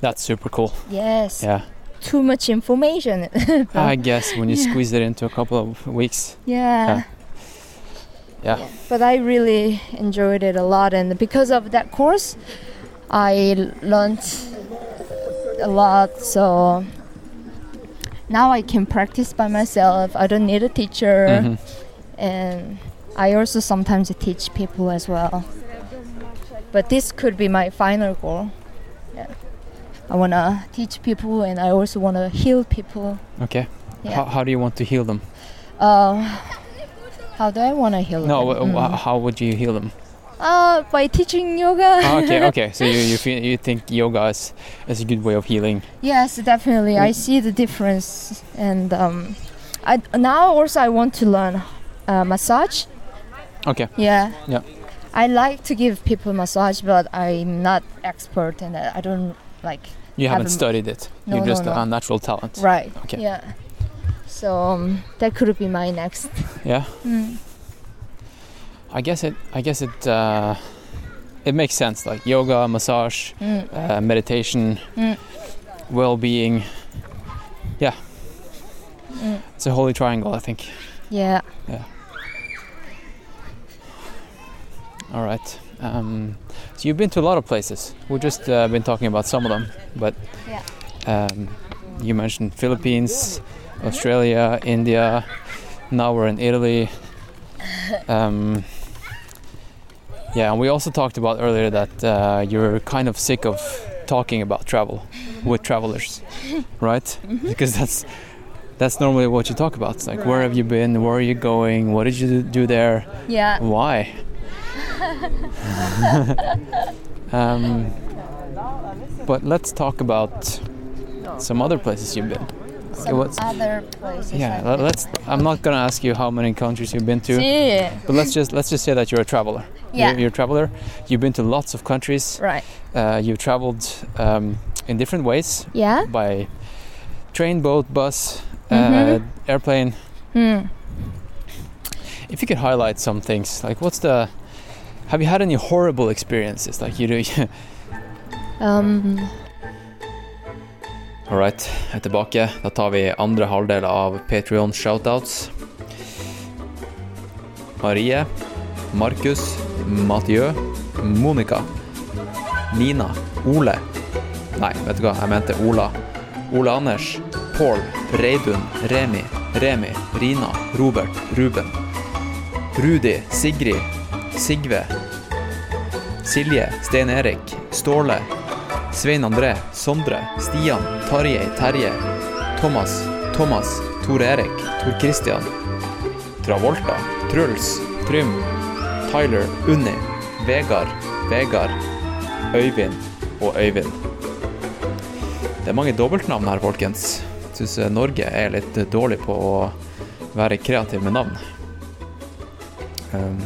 Speaker 4: That's super cool.
Speaker 3: Yes,
Speaker 4: Yeah,
Speaker 3: too much information.
Speaker 4: I guess when you squeeze it into a couple of weeks.
Speaker 3: Yeah.
Speaker 4: Yeah.
Speaker 3: But I really enjoyed it a lot, and because of that course, I learned a lot. So now I can practice by myself. I don't need a teacher,
Speaker 4: Mhm.
Speaker 3: and I also sometimes teach people as well. But this could be my final goal. Yeah. I wanna teach people, and I also wanna heal people.
Speaker 4: Okay.
Speaker 3: Yeah.
Speaker 4: How, how do you want to heal them?
Speaker 3: Uh, how do I wanna heal?
Speaker 4: No,
Speaker 3: them?
Speaker 4: wh- wh-
Speaker 3: Mm.
Speaker 4: how would you heal them?
Speaker 3: Uh, by teaching yoga.
Speaker 4: Ah, okay, okay. So you you, feel, you think yoga is, is a good way of healing?
Speaker 3: Yes, definitely.
Speaker 4: Mm.
Speaker 3: I see the difference, and um, I now also I want to learn uh, massage.
Speaker 4: Okay.
Speaker 3: Yeah.
Speaker 4: Yeah.
Speaker 3: I like to give people massage, but I'm not expert, and I I don't like.
Speaker 4: You haven't
Speaker 3: Haven't-
Speaker 4: studied it.
Speaker 3: No,
Speaker 4: You're
Speaker 3: no,
Speaker 4: just
Speaker 3: no.
Speaker 4: a natural talent.
Speaker 3: Right.
Speaker 4: Okay.
Speaker 3: Yeah. So um, that could be my next.
Speaker 4: Yeah.
Speaker 3: Mm.
Speaker 4: I guess it. I guess it. Uh, it makes sense. Like yoga, massage,
Speaker 3: Mm.
Speaker 4: uh, meditation,
Speaker 3: Mm.
Speaker 4: well-being. Yeah.
Speaker 3: Mm.
Speaker 4: It's a holy triangle, I think.
Speaker 3: Yeah.
Speaker 4: All right. Um, so you've been to a lot of places. We've just uh, been talking about some of them, but
Speaker 3: Yeah.
Speaker 4: um, you mentioned Philippines, Australia, India. Now we're in Italy. Um, yeah, and we also talked about earlier that uh, you're kind of sick of talking about travel with travelers, right? Because that's that's normally what you talk about. It's like, where have you been? Where are you going? What did you do there?
Speaker 3: Yeah.
Speaker 4: Why? um, but let's talk about some other places you've been.
Speaker 3: Some
Speaker 4: what's-
Speaker 3: other places.
Speaker 4: Yeah,
Speaker 3: I
Speaker 4: le- let's. I'm not gonna ask you how many countries you've been to,
Speaker 3: See.
Speaker 4: but let's just let's just say that you're a traveler.
Speaker 3: Yeah.
Speaker 4: You're, you're a traveler. You've been to lots of countries.
Speaker 3: Right.
Speaker 4: Uh, you've traveled um, in different ways
Speaker 3: Yeah.
Speaker 4: by train, boat, bus,
Speaker 3: Mhm.
Speaker 4: uh, airplane.
Speaker 3: Mm.
Speaker 4: If you could highlight some things, like what's the have you had any horrible experiences like you do?
Speaker 3: Um.
Speaker 6: All right, jeg er tilbake. Da tar vi andre halvdel av Patreon shoutouts. Marie, Markus, Mathieu, Monica, Nina, Ole Nei, vet du hva, jeg mente Ola. Ole Anders, Pål, Reidun, Remi, Remi, Rina, Robert, Ruben. Rudi, Sigrid, Sigve. Silje, Stein Erik, Ståle, Svein André, Sondre, Stian, Tarjei, Terje, Thomas, Thomas, Tor Erik, Tor Christian, Travolta, Truls, Trym, Tyler, Unni, Vegard, Vegard, Øyvind og Øyvind. Det er mange dobbeltnavn her, folkens. Syns Norge er litt dårlig på å være kreativ med navn. Um,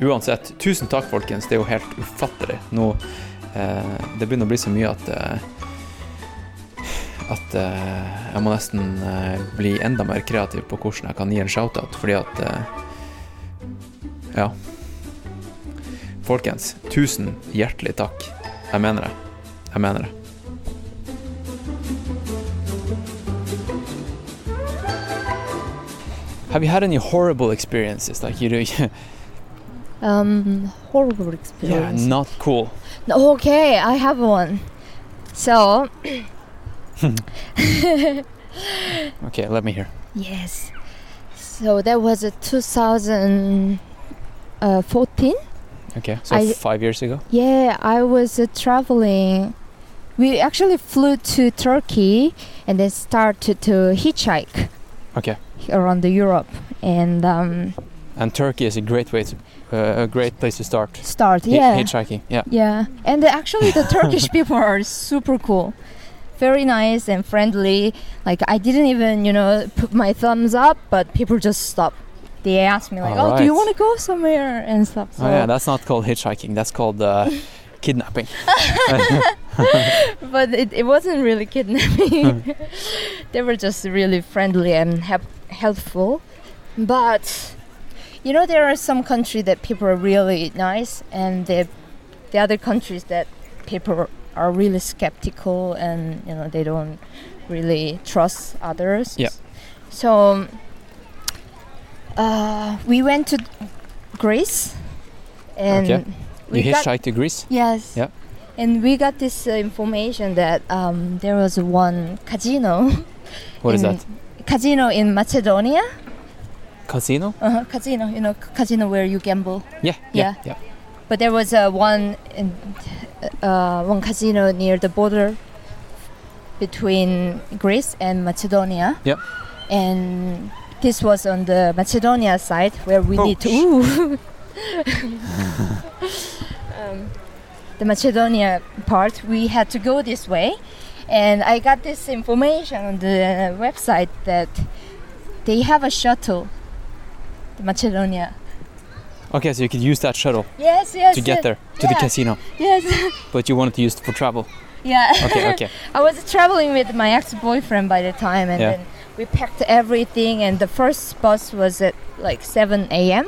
Speaker 6: uansett, tusen takk, folkens. Det er jo helt ufattelig. Nå Eh, det begynner å bli så mye at eh, At eh, jeg må nesten eh, bli enda mer kreativ på hvordan jeg kan gi en shoutout, fordi at eh, Ja. Folkens, tusen hjertelig takk. Jeg mener det. Jeg mener det.
Speaker 4: Have you had any horrible experiences? Like you do, yeah,
Speaker 3: Um, horrible
Speaker 4: yeah
Speaker 3: experience.
Speaker 4: not cool.
Speaker 3: No, okay, I have one. So,
Speaker 4: Okay, let me hear.
Speaker 3: yes. So that was a 2014.
Speaker 4: Okay, so
Speaker 3: I-
Speaker 4: five years ago.
Speaker 3: Yeah, I was uh, traveling. We actually flew to Turkey and then started to hitchhike
Speaker 4: Okay,
Speaker 3: around the Europe and um,
Speaker 4: and Turkey is a great way to, uh, a great place to start.
Speaker 3: start.
Speaker 4: Hi-
Speaker 3: Yeah,
Speaker 4: hitchhiking. Yeah,
Speaker 3: yeah. And actually, the Turkish people are super cool, very nice and friendly. Like I didn't even, you know, put my thumbs up, but people just stop. They ask me like, "Oh, do you
Speaker 4: Alright.
Speaker 3: want to go somewhere?" and stuff. So,
Speaker 4: oh yeah, that's not called hitchhiking. That's called uh, kidnapping.
Speaker 3: but it, it wasn't really kidnapping. they were just really friendly and help, helpful. But you know, there are some countries that people are really nice, and the the other countries that people are really skeptical, and you know, they don't really trust others.
Speaker 4: Yeah.
Speaker 3: So uh, we went to Greece, and
Speaker 4: Okay.
Speaker 3: we
Speaker 4: You
Speaker 3: got
Speaker 4: hitchhiked to Greece.
Speaker 3: Yes.
Speaker 4: Yep.
Speaker 3: And we got this uh, information that um, there was one casino.
Speaker 4: What is
Speaker 3: in,
Speaker 4: that?
Speaker 3: Casino in Macedonia.
Speaker 4: Casino?
Speaker 3: Uh-huh, casino, you know, c- casino where you gamble.
Speaker 4: Yeah, yeah, yeah.
Speaker 3: But there was uh, one in, uh, one casino near the border between Greece and Macedonia.
Speaker 4: Yep.
Speaker 3: And this was on the Macedonia side where
Speaker 4: Oh,
Speaker 3: we need to. Ooh. um, the Macedonia part, we had to go this way. And I got this information on the website that they have a shuttle, the Macedonia.
Speaker 4: Okay, so you could use that shuttle
Speaker 3: Yes, yes.
Speaker 4: to get
Speaker 3: yes,
Speaker 4: there to the
Speaker 3: yeah.
Speaker 4: casino,
Speaker 3: Yes.
Speaker 4: but you wanted to use it for travel.
Speaker 3: yeah.
Speaker 4: Okay, okay.
Speaker 3: I was traveling with my ex-boyfriend by the time, and
Speaker 4: Yeah.
Speaker 3: then we packed everything. And the first bus was at like 7 a.m.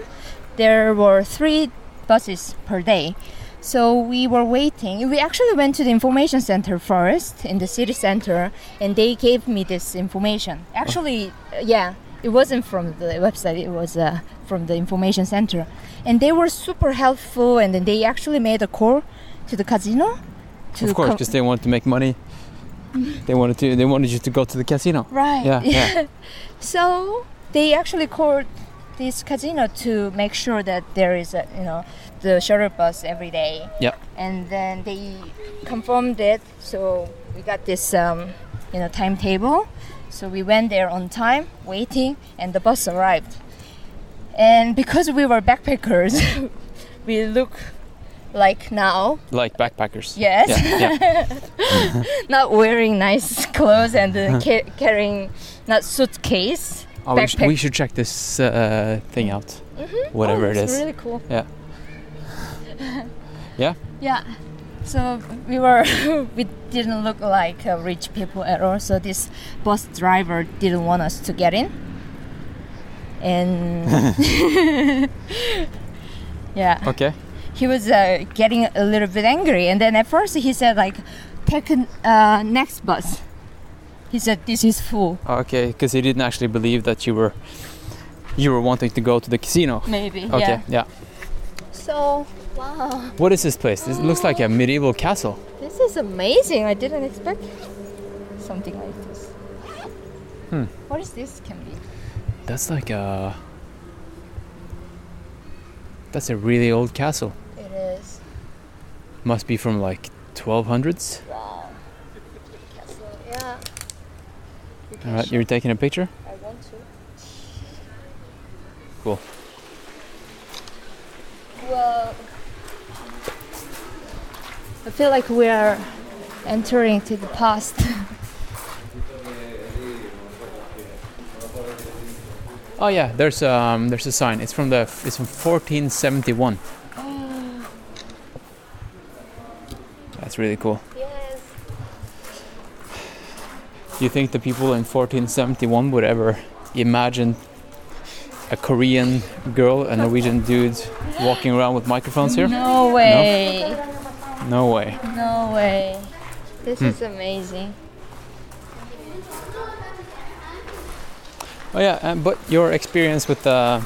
Speaker 3: There were three buses per day, so we were waiting. We actually went to the information center first in the city center, and they gave me this information. Actually, uh, yeah, it wasn't from the website; it was uh, from the information center, and they were super helpful. And then they actually made a call to the casino. To
Speaker 4: of course,
Speaker 3: com-
Speaker 4: because they wanted to make money. They wanted to. They wanted you to go to the casino.
Speaker 3: Right.
Speaker 4: Yeah, yeah.
Speaker 3: so they actually called this casino to make sure that there is a you know the shuttle bus every day.
Speaker 4: Yep.
Speaker 3: And then they confirmed it, so we got this um, you know timetable. So we went there on time, waiting, and the bus arrived. And because we were backpackers, we look like now
Speaker 4: Like backpackers.
Speaker 3: Yes.
Speaker 4: Yeah, yeah.
Speaker 3: not wearing nice clothes and uh, ca- carrying not suitcase.
Speaker 4: Oh, we, sh- we
Speaker 3: Backpack.
Speaker 4: should check this uh, thing out. Whatever
Speaker 3: Oh,
Speaker 4: it
Speaker 3: it's
Speaker 4: is.
Speaker 3: really cool.
Speaker 4: Yeah. Yeah?
Speaker 3: Yeah. So we were we didn't look like uh, rich people at all. So this bus driver didn't want us to get in. And yeah,
Speaker 4: Okay.
Speaker 3: he was uh, getting a little bit angry. And then at first he said like, "Take a uh, next bus." He said, "This is full."
Speaker 4: Okay, because he didn't actually believe that you were, you were wanting to go to the casino.
Speaker 3: Maybe.
Speaker 4: Okay.
Speaker 3: Yeah.
Speaker 4: Yeah.
Speaker 3: So wow,
Speaker 4: What is this place? This looks like a medieval castle.
Speaker 3: this is amazing. I didn't expect something like this. What is this can be?
Speaker 4: That's like a. That's a really old castle.
Speaker 3: It is.
Speaker 4: Must be from like 1200s.
Speaker 3: Wow. Castle. Yeah. You can
Speaker 4: All right,
Speaker 3: show-
Speaker 4: you're taking a picture.
Speaker 3: I want to.
Speaker 4: Cool.
Speaker 3: Well, I feel like we are entering to the past.
Speaker 4: Oh yeah, there's um there's a sign. It's from the it's from 1471. That's really cool.
Speaker 3: yes.
Speaker 4: Do you think the people in 1471 would ever imagine a Korean girl, a Norwegian dude walking around with microphones here?
Speaker 3: No way.
Speaker 4: No way.
Speaker 3: No, way. This is amazing.
Speaker 4: Oh yeah, um, but your experience with the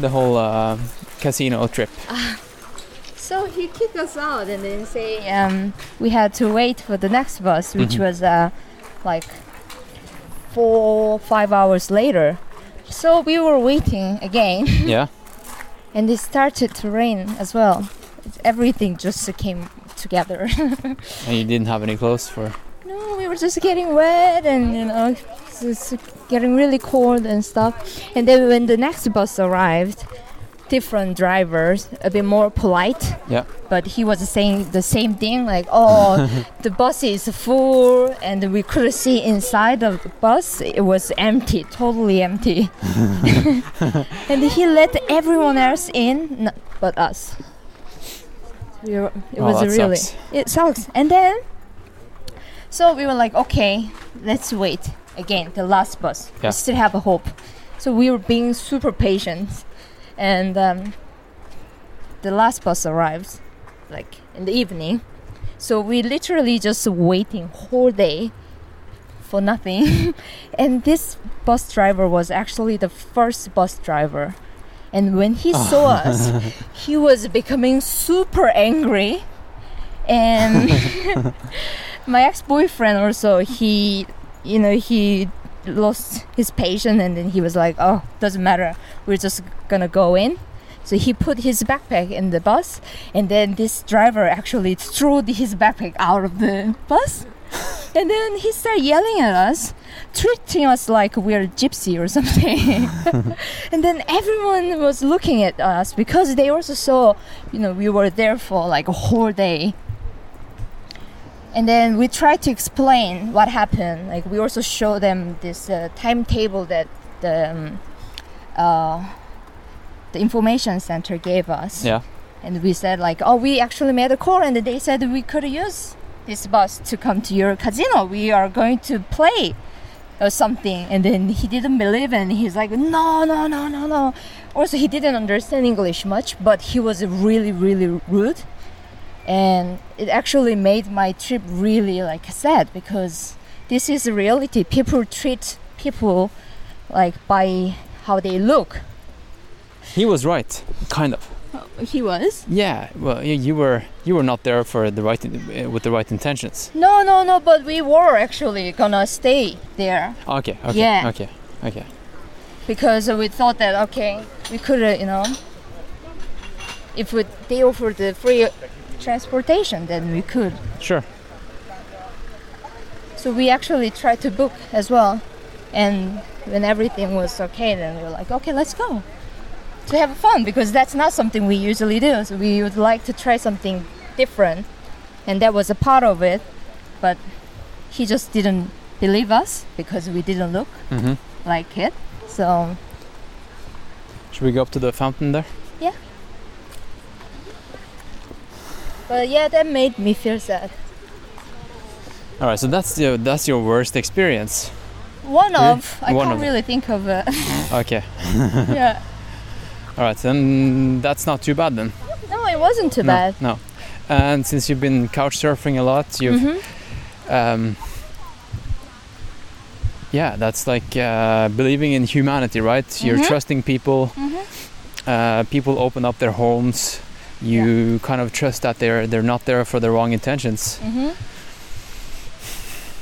Speaker 4: the whole uh, casino trip.
Speaker 3: So he kicked us out and then say um, we had to wait for the next bus, which was uh, like four five hours later. So we were waiting again,
Speaker 4: yeah.
Speaker 3: and it started to rain as well. It's, everything just came together.
Speaker 4: And you didn't have any clothes for
Speaker 3: No, we were just getting wet and you know, it's it's getting really cold and stuff. And then when the next bus arrived, different drivers, a bit more polite.
Speaker 4: Yeah.
Speaker 3: But he was saying the same thing, like, "Oh, the bus is full, and we could see inside of the bus. It was empty, totally empty." and he let everyone else in, n- but us. We were, it
Speaker 4: Oh,
Speaker 3: was
Speaker 4: that
Speaker 3: really
Speaker 4: sucks.
Speaker 3: it sucks. And then so we were like, okay, let's wait again, the last bus.
Speaker 4: Yeah.
Speaker 3: We still have a hope. So we were being super patient. And um, the last bus arrives, like in the evening. So we literally just waiting whole day for nothing. and this bus driver was actually the first bus driver. And when he saw us, he was becoming super angry. And my ex-boyfriend also he you know he lost his patience and then he was like oh doesn't matter we're just gonna go in so he put his backpack in the bus and then this driver actually threw the- his backpack out of the bus and then he started yelling at us treating us like we're gypsy or something and then everyone was looking at us because they also saw you know we were there for like a whole day and then we tried to explain what happened. Like we also show them this uh, timetable that the um, uh, the information center gave us.
Speaker 4: Yeah.
Speaker 3: And we said like, oh, we actually made a call, and they said we could use this bus to come to your casino. We are going to play or something. And then he didn't believe, and he's like, no, no, no, no, no. Also, he didn't understand English much, but he was really, really rude and it actually made my trip really like sad because this is the reality people treat people like by how they look
Speaker 4: He was right, kind of.
Speaker 3: he was
Speaker 4: Yeah. Well, y- you were you were not there for the right in- uh, with the right intentions.
Speaker 3: no no no but we were actually gonna stay there
Speaker 4: Okay. Okay.
Speaker 3: Yeah.
Speaker 4: Okay. Okay.
Speaker 3: because we thought that okay we could uh, you know if we, they offered the free transportation then we could
Speaker 4: Sure.
Speaker 3: So we actually tried to book as well. And when everything was okay, then we were like, okay, let's go to have fun because that's not something we usually do. So we would like to try something different. And that was a part of it. But he just didn't believe us because we didn't look
Speaker 4: Mhm.
Speaker 3: like it. So
Speaker 4: Should we go up to the fountain there?
Speaker 3: but yeah, that made me feel sad.
Speaker 4: All right. So that's your that's your worst experience.
Speaker 3: One of I
Speaker 4: One
Speaker 3: can't
Speaker 4: of-
Speaker 3: really think of it.
Speaker 4: Okay.
Speaker 3: yeah.
Speaker 4: All right. Then that's not too bad then.
Speaker 3: No, it wasn't too bad.
Speaker 4: No. And since you've been couch surfing a lot, you've
Speaker 3: Mhm.
Speaker 4: um, yeah, that's like uh, believing in humanity, right? You're
Speaker 3: Mhm.
Speaker 4: trusting people.
Speaker 3: Mhm.
Speaker 4: Uh, people open up their homes. You kind of trust that they're they're not there for the wrong intentions.
Speaker 3: Mhm.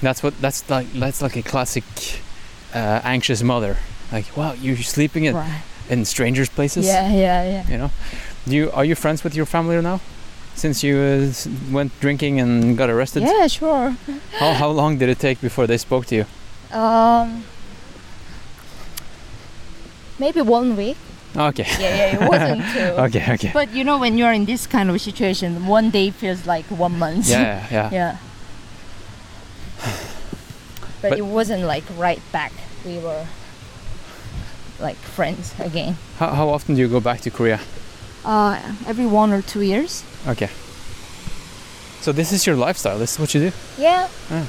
Speaker 4: That's what that's like. That's like a classic uh, anxious mother. Like, wow, you're sleeping in,
Speaker 3: Right.
Speaker 4: in strangers' places.
Speaker 3: Yeah, yeah, yeah.
Speaker 4: You know, do you are you friends with your family now? Since you uh, s- went drinking and got arrested,
Speaker 3: Yeah, sure.
Speaker 4: how how long did it take before they spoke to you?
Speaker 3: Um, maybe one week.
Speaker 4: Okay.
Speaker 3: Yeah, yeah, it wasn't too.
Speaker 4: Okay, okay.
Speaker 3: But you know, when you're in this kind of situation, one day feels like one month.
Speaker 4: Yeah, yeah.
Speaker 3: yeah. But,
Speaker 4: But-
Speaker 3: it wasn't like right back. We were like friends again.
Speaker 4: How, how often do you go back to Korea?
Speaker 3: Uh, every one or two years.
Speaker 4: Okay. So this is your lifestyle. This is what you do.
Speaker 3: Yeah.
Speaker 4: I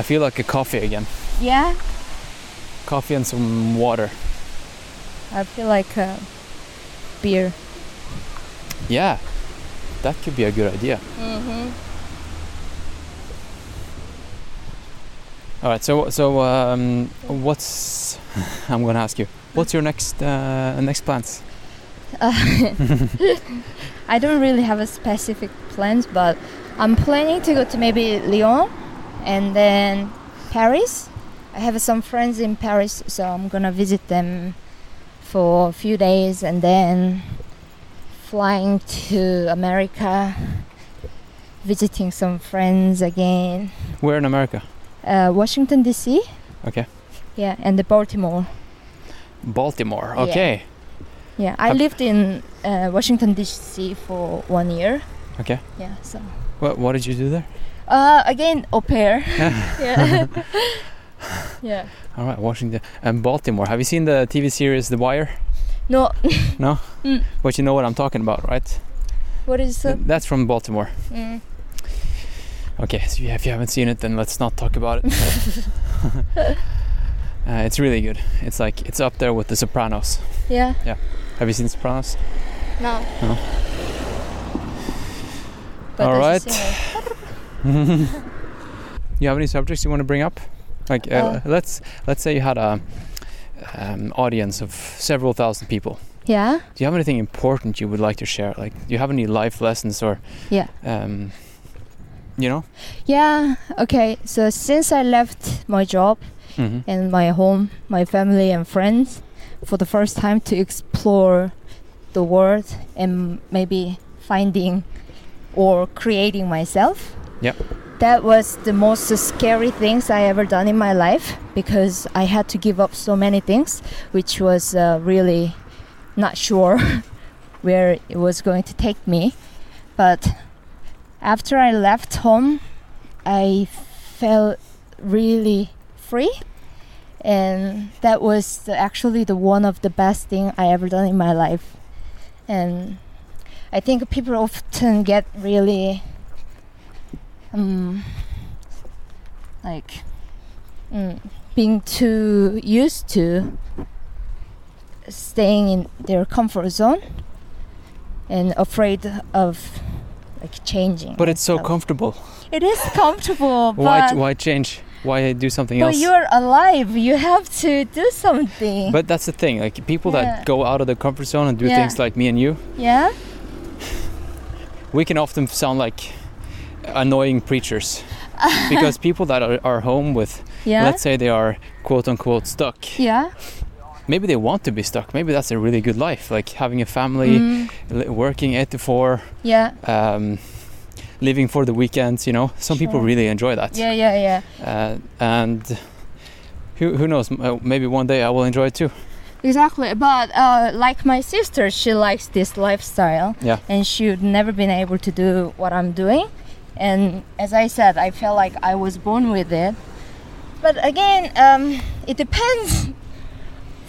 Speaker 4: I feel like a coffee again.
Speaker 3: Yeah,
Speaker 4: Coffee and some water.
Speaker 3: I feel like uh, beer.
Speaker 4: Yeah, that could be a good idea.
Speaker 3: Mm-hmm.
Speaker 4: All right. So so um, what's I'm gonna ask you. What's your next uh, next plans?
Speaker 3: I don't really have a specific plans, but I'm planning to go to maybe Lyon and then Paris. I have some friends in Paris, so I'm gonna visit them for a few days and then flying to America, visiting some friends again.
Speaker 4: We're in America.
Speaker 3: Uh, Washington D.C.
Speaker 4: Okay.
Speaker 3: Yeah, and the Baltimore.
Speaker 4: Baltimore.
Speaker 3: Yeah.
Speaker 4: Okay.
Speaker 3: Yeah, I
Speaker 4: Have-
Speaker 3: lived in uh, Washington D.C. for one year.
Speaker 4: Okay.
Speaker 3: Yeah, so
Speaker 4: What what did you do there?
Speaker 3: uh, again au pair. yeah. yeah.
Speaker 4: All right, Washington and Baltimore. Have you seen the TV series The Wire?
Speaker 3: No,
Speaker 4: But you know what I'm talking about, right?
Speaker 3: what is
Speaker 4: Th-
Speaker 3: uh,
Speaker 4: That's from Baltimore.
Speaker 3: mm,
Speaker 4: Okay, so yeah, if you haven't seen it, then let's not talk about it. uh, it's really good. It's like it's up there with The Sopranos.
Speaker 3: yeah.
Speaker 4: Have you seen Sopranos?
Speaker 3: No.
Speaker 4: No.
Speaker 3: But
Speaker 4: All
Speaker 3: there's a
Speaker 4: right.
Speaker 3: singer.
Speaker 4: You have any subjects you want to bring up? Like uh,
Speaker 3: Uh.
Speaker 4: let's let's say you had a um, audience of several thousand people.
Speaker 3: Yeah.
Speaker 4: Do you have anything important you would like to share? Like, do you have any life lessons or?
Speaker 3: Yeah.
Speaker 4: Um, you know.
Speaker 3: Yeah. Okay. So since I left my job
Speaker 4: Mm-hmm.
Speaker 3: and my home, my family and friends, for the first time to explore the world and maybe finding or creating myself.
Speaker 4: Yep.
Speaker 3: That was the most scary things I ever done in my life because I had to give up so many things, which was uh, really not sure where it was going to take me. But after I left home, I felt really free and that was the, actually the one of the best thing I ever done in my life. And I think people often get really, um, like, mm, being too used to staying in their comfort zone and afraid of like changing.
Speaker 4: But it's so
Speaker 3: So-
Speaker 4: comfortable.
Speaker 3: it is comfortable, but.
Speaker 4: Why why change? Why do something
Speaker 3: but
Speaker 4: else?
Speaker 3: you're alive. You have to do something.
Speaker 4: But that's the thing. Like people
Speaker 3: Yeah.
Speaker 4: that go out of their comfort zone and do
Speaker 3: Yeah.
Speaker 4: things like me and you,
Speaker 3: yeah.
Speaker 4: we can often sound like annoying preachers because people that are, are home with,
Speaker 3: Yeah.
Speaker 4: let's say they are quote unquote stuck.
Speaker 3: yeah.
Speaker 4: Maybe they want to be stuck. Maybe that's a really good life, like having a family,
Speaker 3: Mm,
Speaker 4: li- working eight to four,
Speaker 3: yeah.
Speaker 4: um, living for the weekends. You know, some people
Speaker 3: Sure.
Speaker 4: really enjoy that.
Speaker 3: Yeah. Yeah. Yeah.
Speaker 4: Uh, and who who knows? m- uh, Maybe one day I will enjoy it too.
Speaker 3: Exactly. But uh, like my sister, she likes this lifestyle.
Speaker 4: Yeah.
Speaker 3: And she'd never been able to do what I'm doing. And as I said, I felt like I was born with it. But again, um, it depends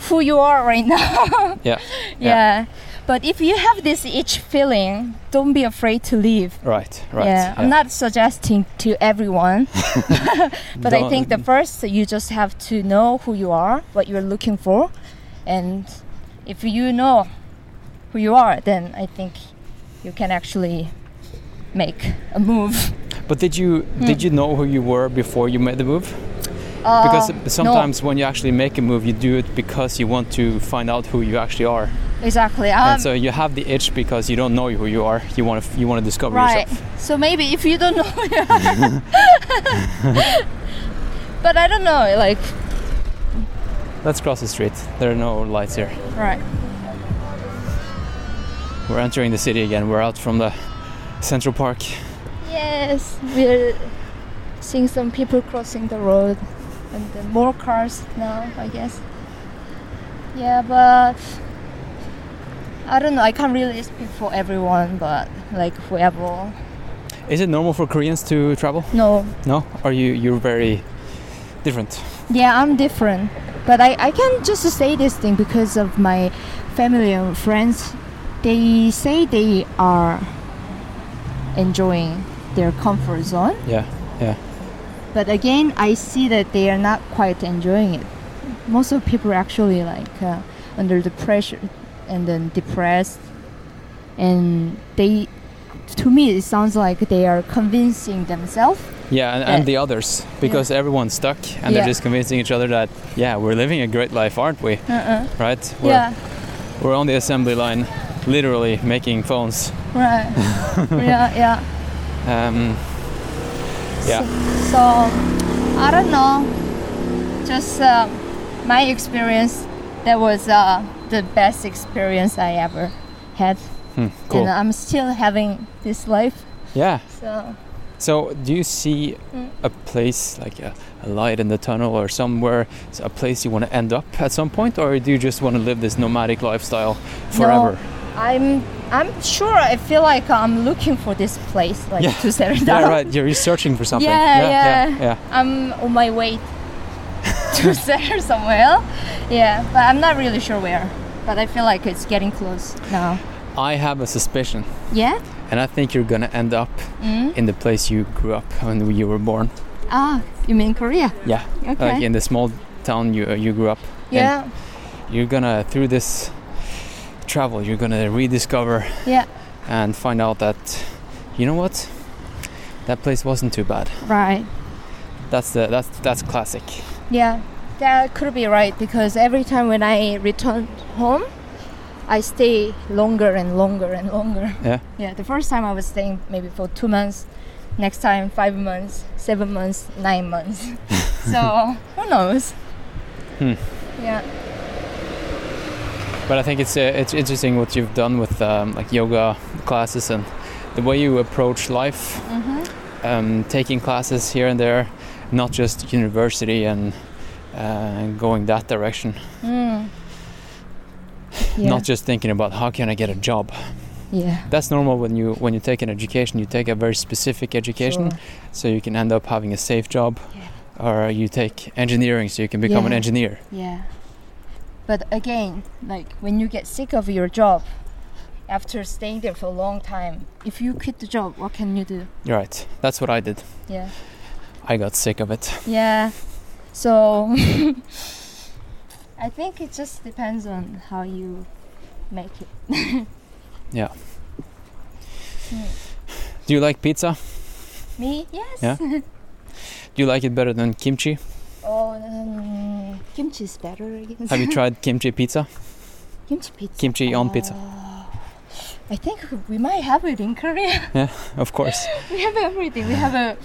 Speaker 3: who you are right now.
Speaker 4: Yeah.
Speaker 3: yeah.
Speaker 4: Yeah.
Speaker 3: But if you have this itch feeling, don't be afraid to leave.
Speaker 4: Right. Right.
Speaker 3: Yeah, I'm not suggesting to everyone, but I
Speaker 4: Don't-
Speaker 3: think the first you just have to know who you are, what you're looking for, and if you know who you are, then I think you can actually make a move.
Speaker 4: But did you
Speaker 3: Hmm.
Speaker 4: did you know who you were before you made the move?
Speaker 3: Uh,
Speaker 4: Because sometimes when you actually make a move, you do it because you want to find out who you actually are,
Speaker 3: exactly. Um,
Speaker 4: and so you have the itch because you don't know who you are. You want to you want to discover
Speaker 3: right.
Speaker 4: yourself.
Speaker 3: So maybe if you don't know, but I don't know. Like
Speaker 4: Let's cross the street. There are no lights here.
Speaker 3: right.
Speaker 4: We're entering the city again. We're out from the Central Park.
Speaker 3: Yes, we're seeing some people crossing the road and then more cars now, I guess. Yeah, but I don't know, I can't really speak for everyone, but like whoever.
Speaker 4: Is it normal for Koreans to travel?
Speaker 3: No,
Speaker 4: No. Are you you're very different?
Speaker 3: yeah, I'm different, but I, I can just say this thing because of my family and friends. They say they are enjoying their comfort zone.
Speaker 4: Yeah.
Speaker 3: But again, I see that they are not quite enjoying it. Most of people are actually like uh, under the pressure and then depressed, and they, to me, it sounds like they are convincing themselves.
Speaker 4: Yeah, and,
Speaker 3: Yeah.
Speaker 4: and the others because everyone's stuck
Speaker 3: Yeah.
Speaker 4: and they're just convincing each other that yeah, we're living a great life, aren't we?
Speaker 3: Uh-uh.
Speaker 4: Right? We're,
Speaker 3: Yeah,
Speaker 4: we're on the assembly line, literally making phones.
Speaker 3: right. yeah, yeah.
Speaker 4: Um, Yeah.
Speaker 3: So, so, I don't know. Just um, my experience. That was uh, the best experience I ever had,
Speaker 4: hmm, cool.
Speaker 3: and uh, I'm still having this life.
Speaker 4: Yeah.
Speaker 3: So.
Speaker 4: So, do you see
Speaker 3: Mm.
Speaker 4: a place like a, a light in the tunnel or somewhere, s- a place you want to end up at some point, or do you just want to live this nomadic lifestyle forever?
Speaker 3: I'm I'm sure I feel like I'm looking for this place like
Speaker 4: Yeah.
Speaker 3: to settle down.
Speaker 4: Yeah, right. You're searching for something.
Speaker 3: Yeah,
Speaker 4: yeah, yeah.
Speaker 3: yeah. I'm on my way to settle somewhere. Yeah, but I'm not really sure where. But I feel like it's getting close now.
Speaker 4: yeah. I have a suspicion,
Speaker 3: Yeah?
Speaker 4: and I think you're gonna end up
Speaker 3: Mm.
Speaker 4: in the place you grew up when you were born.
Speaker 3: Ah, you mean Korea?
Speaker 4: Yeah,
Speaker 3: Okay.
Speaker 4: like in the small town you you grew up.
Speaker 3: yeah.
Speaker 4: You're gonna through this travel, you're gonna rediscover
Speaker 3: Yeah.
Speaker 4: and find out that you know what, that place wasn't too bad.
Speaker 3: Right.
Speaker 4: That's the that's that's classic.
Speaker 3: Yeah, that could be right because every time when I return home, I stay longer and longer and longer.
Speaker 4: Yeah.
Speaker 3: Yeah. The first time I was staying maybe for two months, next time five months, seven months, nine months. so who knows?
Speaker 4: Hmm.
Speaker 3: Yeah.
Speaker 4: But I think it's uh, it's interesting what you've done with um, like yoga classes and the way you approach life,
Speaker 3: Mm-hmm.
Speaker 4: um, taking classes here and there, not just university and uh, going that direction.
Speaker 3: Mm. Yeah.
Speaker 4: Not just thinking about how can I get a job.
Speaker 3: yeah.
Speaker 4: That's normal when you when you take an education. You take a very specific education,
Speaker 3: Sure.
Speaker 4: so you can end up having a safe job,
Speaker 3: Yeah.
Speaker 4: or you take engineering, so you can become an
Speaker 3: Yeah.
Speaker 4: engineer.
Speaker 3: Yeah. But again, like when you get sick of your job after staying there for a long time, if you quit the job, what can you do?
Speaker 4: Right. That's what I did.
Speaker 3: Yeah.
Speaker 4: I got sick of it.
Speaker 3: Yeah. So I think it just depends on how you make it.
Speaker 4: Do you like pizza?
Speaker 3: Me? Yes.
Speaker 4: Yeah. Do you like it better than kimchi?
Speaker 3: Oh, um, kimchi is better, I guess.
Speaker 4: Have you tried kimchi pizza?
Speaker 3: kimchi pizza. Uh,
Speaker 4: Kimchi on pizza,
Speaker 3: I think we might have it in Korea.
Speaker 4: of course.
Speaker 3: we have everything. We have a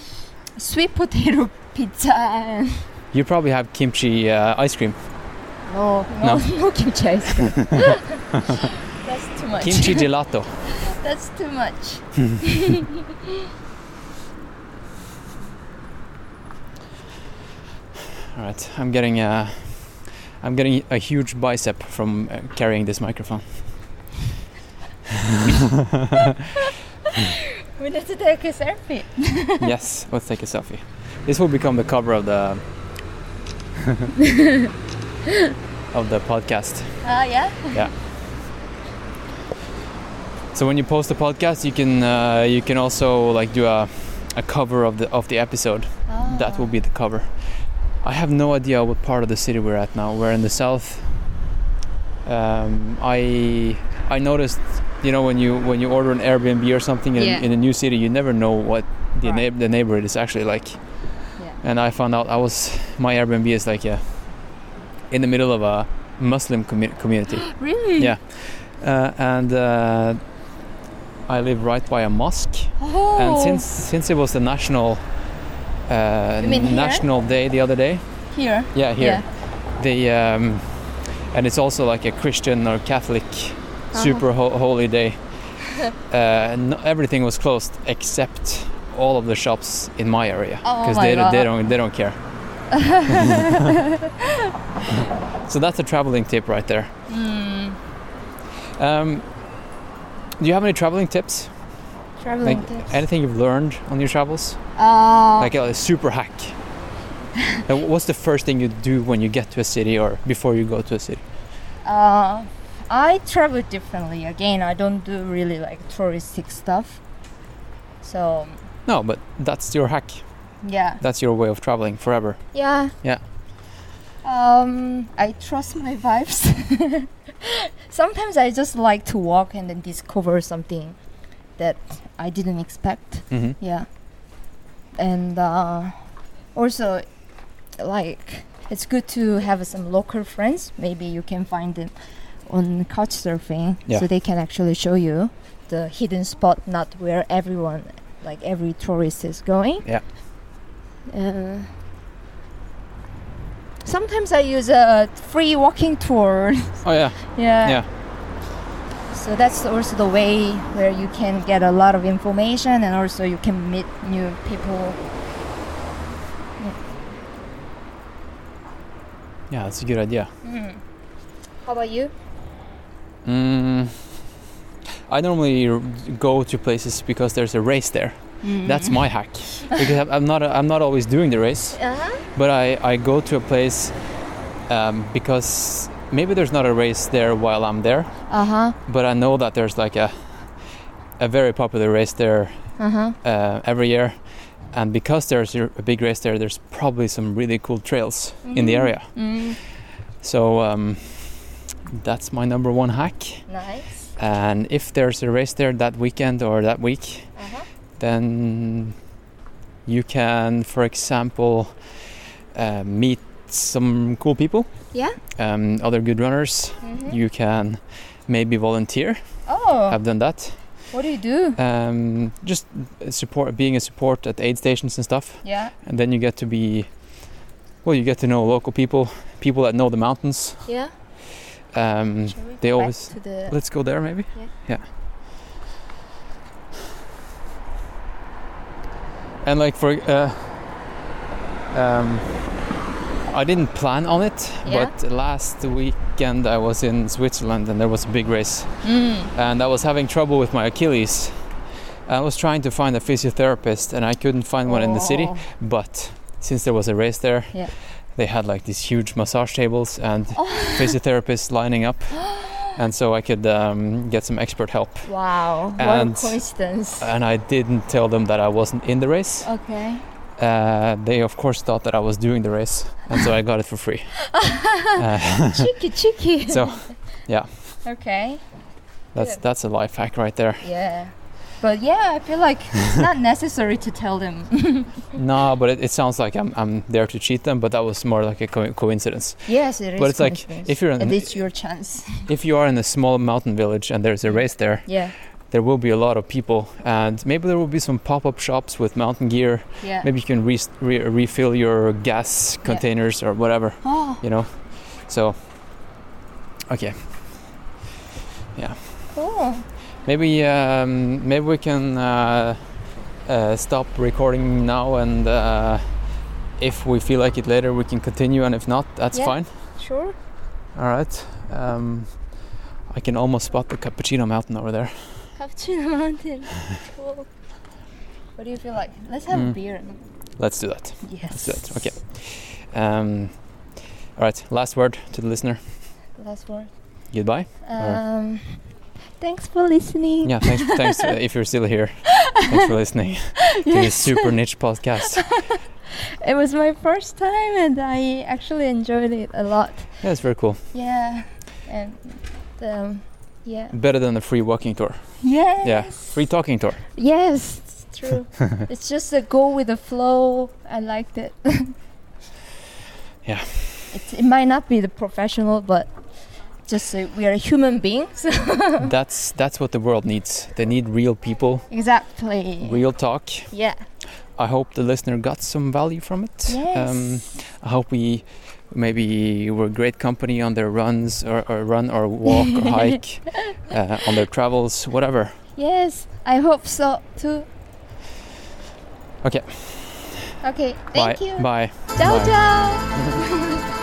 Speaker 3: sweet potato pizza and
Speaker 4: You probably have kimchi uh, ice cream.
Speaker 3: no, no, no, kimchi ice cream. That's too much.
Speaker 4: Kimchi gelato.
Speaker 3: That's too much.
Speaker 4: All right. I'm getting uh, I'm getting a huge bicep from uh, carrying this microphone.
Speaker 3: We need to take a selfie.
Speaker 4: yes. Let's take a selfie. This will become the cover of the of the podcast.
Speaker 3: Ah, yeah.
Speaker 4: So when you post the podcast, you can uh, you can also like do a, a cover of the of the episode. That will be the cover. I have no idea what part of the city we're at now. We're in the south. Um, I I noticed, you know, when you when you order an Airbnb or something in,
Speaker 3: Yeah.
Speaker 4: in a new city, you never know what the
Speaker 3: Right.
Speaker 4: neigh- the neighborhood is actually like.
Speaker 3: Yeah.
Speaker 4: And I found out I was my Airbnb is like yeah, in the middle of a Muslim commu- community.
Speaker 3: Ah. Really?
Speaker 4: Yeah. Uh, and uh, I live right by a mosque.
Speaker 3: Oh.
Speaker 4: And since since it was the national uh,
Speaker 3: You mean here?
Speaker 4: national day the other day,
Speaker 3: here.
Speaker 4: yeah, here they um, and it's also like a Christian or Catholic
Speaker 3: Uh-huh.
Speaker 4: super ho- holy day. uh, no, everything was closed except all of the shops in my area
Speaker 3: Oh my
Speaker 4: they, don't- they
Speaker 3: God.
Speaker 4: don't they don't care. so that's a traveling tip right there.
Speaker 3: Hmm.
Speaker 4: Um, do you have any traveling tips?
Speaker 3: Traveling
Speaker 4: Like
Speaker 3: tips.
Speaker 4: anything you've learned on your travels?
Speaker 3: Uh,
Speaker 4: Like a super hack. Like, What's the first thing you do when you get to a city or before you go to a city?
Speaker 3: uh, I travel differently. Again, I don't do really like touristic stuff. So
Speaker 4: No, but that's your hack.
Speaker 3: Yeah.
Speaker 4: That's your way of traveling forever.
Speaker 3: Yeah.
Speaker 4: Yeah.
Speaker 3: Um, I trust my vibes. Sometimes I just like to walk and then discover something that I didn't expect.
Speaker 4: Mm-hmm.
Speaker 3: Yeah. And uh, also, like, it's good to have some local friends. Maybe you can find them on couch surfing
Speaker 4: Yeah.
Speaker 3: so they can actually show you the hidden spot, not where everyone, like, every tourist is going.
Speaker 4: Yeah.
Speaker 3: Uh, sometimes I use a free walking tour.
Speaker 4: Oh yeah,
Speaker 3: yeah.
Speaker 4: yeah,
Speaker 3: So that's also the way where you can get a lot of information and also you can meet new people.
Speaker 4: yeah. That's a good idea.
Speaker 3: How about you?
Speaker 4: Mm. I normally r- go to places because there's a race there. That's my hack because I'm- I'm not I'm not always doing the race.
Speaker 3: Uh-huh.
Speaker 4: but I, I go to a place um, because maybe there's not a race there while I'm there,
Speaker 3: Uh-huh.
Speaker 4: but I know that there's like a a very popular race there
Speaker 3: Uh-huh.
Speaker 4: uh, every year, and because there's a a big race there, there's probably some really cool trails in the area.
Speaker 3: Mm.
Speaker 4: So um, that's my number one hack.
Speaker 3: Nice.
Speaker 4: And if there's a race there that weekend or that week,
Speaker 3: Uh-huh.
Speaker 4: then you can, for example, uh, meet some cool people.
Speaker 3: Yeah.
Speaker 4: Um, other good runners.
Speaker 3: Mhm.
Speaker 4: You can maybe volunteer.
Speaker 3: Oh,
Speaker 4: I've done that.
Speaker 3: what do you do?
Speaker 4: Um, just support, being a support at aid stations and stuff,
Speaker 3: Yeah.
Speaker 4: and then you get to be, well, you get to know local people, people that know the mountains.
Speaker 3: Yeah.
Speaker 4: Um,
Speaker 3: Shall we
Speaker 4: They
Speaker 3: go back
Speaker 4: always-
Speaker 3: to the
Speaker 4: let's go there, maybe.
Speaker 3: Yeah.
Speaker 4: And like for, uh, um, I didn't plan on it,
Speaker 3: Yeah.
Speaker 4: but last weekend I was in Switzerland and there was a big race,
Speaker 3: Mm.
Speaker 4: and I was having trouble with my Achilles. I was trying to find a physiotherapist, and I couldn't find one in the city.
Speaker 3: Oh.
Speaker 4: But since there was a race there,
Speaker 3: Yeah.
Speaker 4: they had like these huge massage tables and physiotherapists lining up, and so I could um, get some expert help.
Speaker 3: Wow.
Speaker 4: And- uh,
Speaker 3: what a coincidence.
Speaker 4: And I didn't tell them that I wasn't in the race.
Speaker 3: okay.
Speaker 4: Uh, they of course thought that I was doing the race, and so I got it for free. Uh,
Speaker 3: cheeky, cheeky.
Speaker 4: so
Speaker 3: okay.
Speaker 4: that's
Speaker 3: Good.
Speaker 4: that's a life hack right there.
Speaker 3: Yeah. But yeah, I feel like it's not necessary to tell them.
Speaker 4: No, but it, it sounds like I'm I'm there to cheat them, but that was more like a co- coincidence.
Speaker 3: yes, it is.
Speaker 4: But it's like,
Speaker 3: coincidence.
Speaker 4: If you're
Speaker 3: And
Speaker 4: in,
Speaker 3: it's your chance.
Speaker 4: if you are in a small mountain village and there's a race there,
Speaker 3: Yeah.
Speaker 4: there will be a lot of people, and maybe there will be some pop-up shops with mountain gear.
Speaker 3: Yeah.
Speaker 4: Maybe you can re- re- refill your gas containers or whatever,
Speaker 3: Oh,
Speaker 4: you know. So, okay.
Speaker 3: cool.
Speaker 4: Maybe um, maybe we can uh, uh, stop recording now, and uh, if we feel like it later, we can continue, and if not, that's
Speaker 3: Yeah.
Speaker 4: fine.
Speaker 3: Sure.
Speaker 4: All right. Um, I can almost spot the cappuccino mountain over there.
Speaker 3: Cappuccino Mountain. Cool. What do you feel like? Let's have a
Speaker 4: Mm.
Speaker 3: beer.
Speaker 4: Let's do that.
Speaker 3: Yes.
Speaker 4: Let's do it. Okay. Um, all right. Last word to the listener.
Speaker 3: Last word.
Speaker 4: Goodbye.
Speaker 3: Um, thanks for listening.
Speaker 4: Yeah. Thanks. thanks. Uh, if you're still here, thanks for listening to this super niche podcast.
Speaker 3: It was my first time and I actually enjoyed it a lot.
Speaker 4: Yeah, it's very cool.
Speaker 3: Yeah. And um, yeah.
Speaker 4: Better than the free walking tour.
Speaker 3: Yes.
Speaker 4: Yeah. Free talking tour.
Speaker 3: Yes, it's true. it's just a go with the flow. I liked it.
Speaker 4: Yeah.
Speaker 3: It's, it might not be the professional, but just uh, we are human beings.
Speaker 4: that's that's what the world needs. They need real people,
Speaker 3: exactly.
Speaker 4: real talk.
Speaker 3: Yeah.
Speaker 4: I hope the listener got some value from it. Um,
Speaker 3: Yes.
Speaker 4: I hope we maybe were great company on their runs or, or run or walk or hike, uh, on their travels, whatever.
Speaker 3: yes. I hope so too.
Speaker 4: Okay.
Speaker 3: Okay. Thank
Speaker 4: bye.
Speaker 3: you.
Speaker 4: Bye.
Speaker 3: Ciao
Speaker 4: Bye.
Speaker 3: ciao.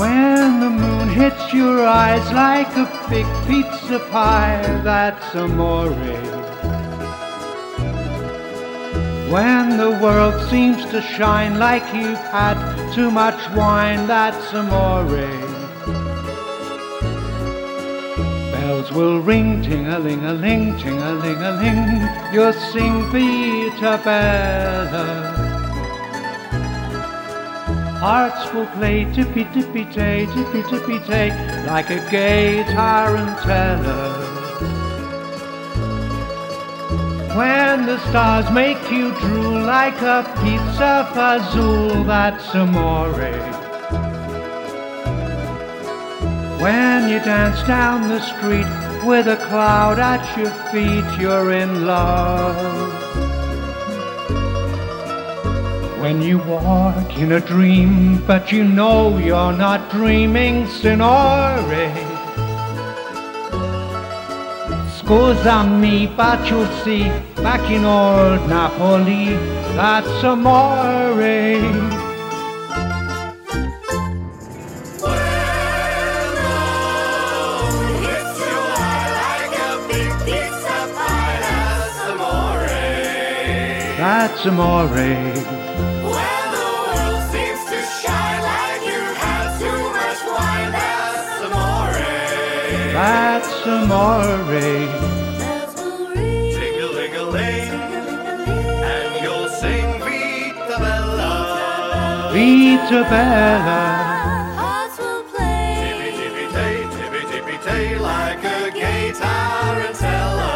Speaker 5: When the moon hits your eyes like a big pizza pie, that's amore. When the world seems to shine like you've had too much wine, that's amore. Bells will ring, ting-a-ling-a-ling, ting-a-ling-a-ling. You'll sing Peter Bella. Hearts will play tippy-tippy-tay, tippy-tippy-tay, like a gay tarantella. When the stars make you drool like a pizza fazool, that's amore. When you dance down the street with a cloud at your feet, you're in love. When you walk in a dream, but you know you're not dreaming, signore. Scusami, but you'll see back in old Napoli, that's amore. That's amore. That's amore. Vita Bella.
Speaker 2: Like a gay tarantella.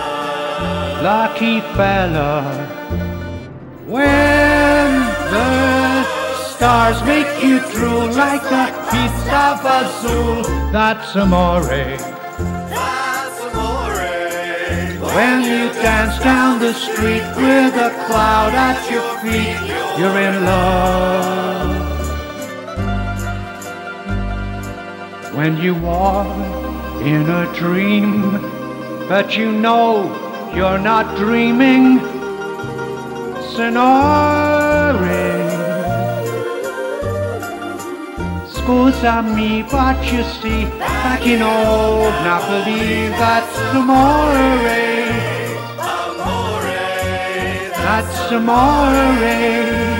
Speaker 5: lucky fella. When the stars make you drool like a pizza fazool, that's amore.
Speaker 2: That's amore.
Speaker 5: When you dance down the street with a cloud at your feet, you're in love. When you walk in a dream, but you know you're not dreaming, Sonore. Scusami, but you see, back in old Napoli, that's amore. That's amore.